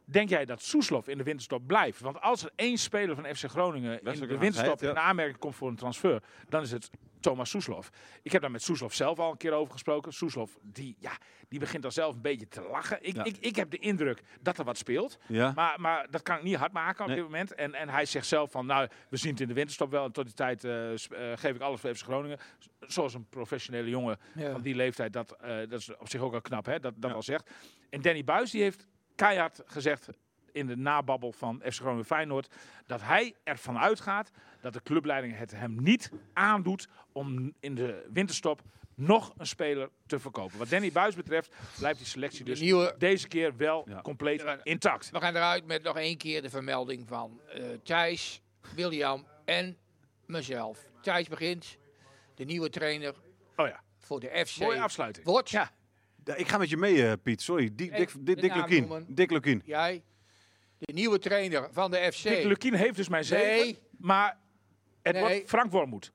Denk jij dat Soeslof in de winterstop blijft? Want als er één speler van FC Groningen in Westelijke de winterstop Haagheid, ja. in aanmerking komt voor een transfer, dan is het Thomas Soeslof. Ik heb daar met Soeslof zelf al een keer over gesproken. Soeslof, die, ja, die begint al zelf een beetje te lachen. Ik, Ja. ik, ik heb de indruk dat er wat speelt. Ja. Maar, maar dat kan ik niet hard maken op Nee. dit moment. En, en hij zegt zelf van, nou, we zien het in de winterstop wel. En tot die tijd eh, sp- eh, geef ik alles voor FC Groningen. Z- Zoals een professionele jongen Ja. van die leeftijd, dat, eh, dat is op zich ook al knap, hè, dat dat al zegt. En Danny Buis die heeft keihard gezegd in de nababbel van FC Groningen Feyenoord dat hij ervan uitgaat dat de clubleiding het hem niet aandoet om in de winterstop nog een speler te verkopen. Wat Danny Buis betreft blijft die selectie De dus nieuwe deze keer wel Ja. compleet Ja. intact. We gaan eruit met nog één keer de vermelding van eh, Thijs, William en mezelf. Thijs begint, de nieuwe trainer Oh ja, voor de FC. mooie afsluiting. Wordt Ja, Ja, Ik ga met je mee, eh, Piet. Sorry. Dick, Dick, Hey, Dick, de Dick naam Lukien. noemen. Dick Lukien. jij de nieuwe trainer van de FC? Dick Lukien heeft dus mijn zegen, Nee. maar het Nee. wordt Frank Wormoed.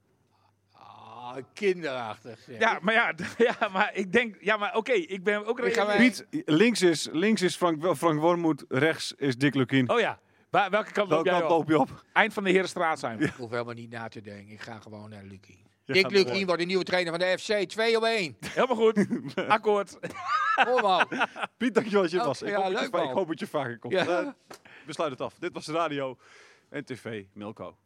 Ah, kinderachtig. zeg. Ja, maar ja, (laughs) d- ja, maar ik denk, ja, maar oké, ik ben ook Ik ga realistisch. mij- Piet, links is, links is Frank, Frank Wormoed. Rechts is Dick Lukien. Oh ja, Waar- welke kant loop Welke jij kant op? loop je op? Eind van de Herenstraat zijn (laughs) we. Ik hoef helemaal niet na te denken. Ik ga gewoon naar Lucky. gaat Dick Lucky door. wordt de nieuwe trainer van de FC. 2 op (laughs) 1. Helemaal goed. Akkoord. Oh man. Piet, dankjewel dat je er was. Oh, Ik, ja, hoop dat je, leuk, va- man. ik hoop dat je vaker komt. Ja. Eh, we sluiten het af. Dit was Radio en TV Milko.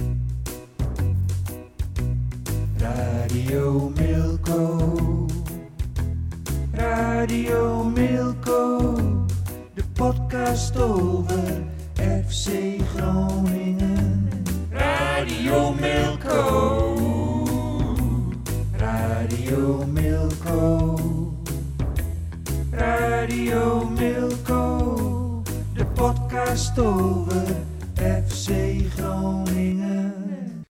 Radio Milko. Radio Milko. De podcast over FC Groningen. Radio Milko. Radio Milko. Radio Milko. podcast over FC Groningen.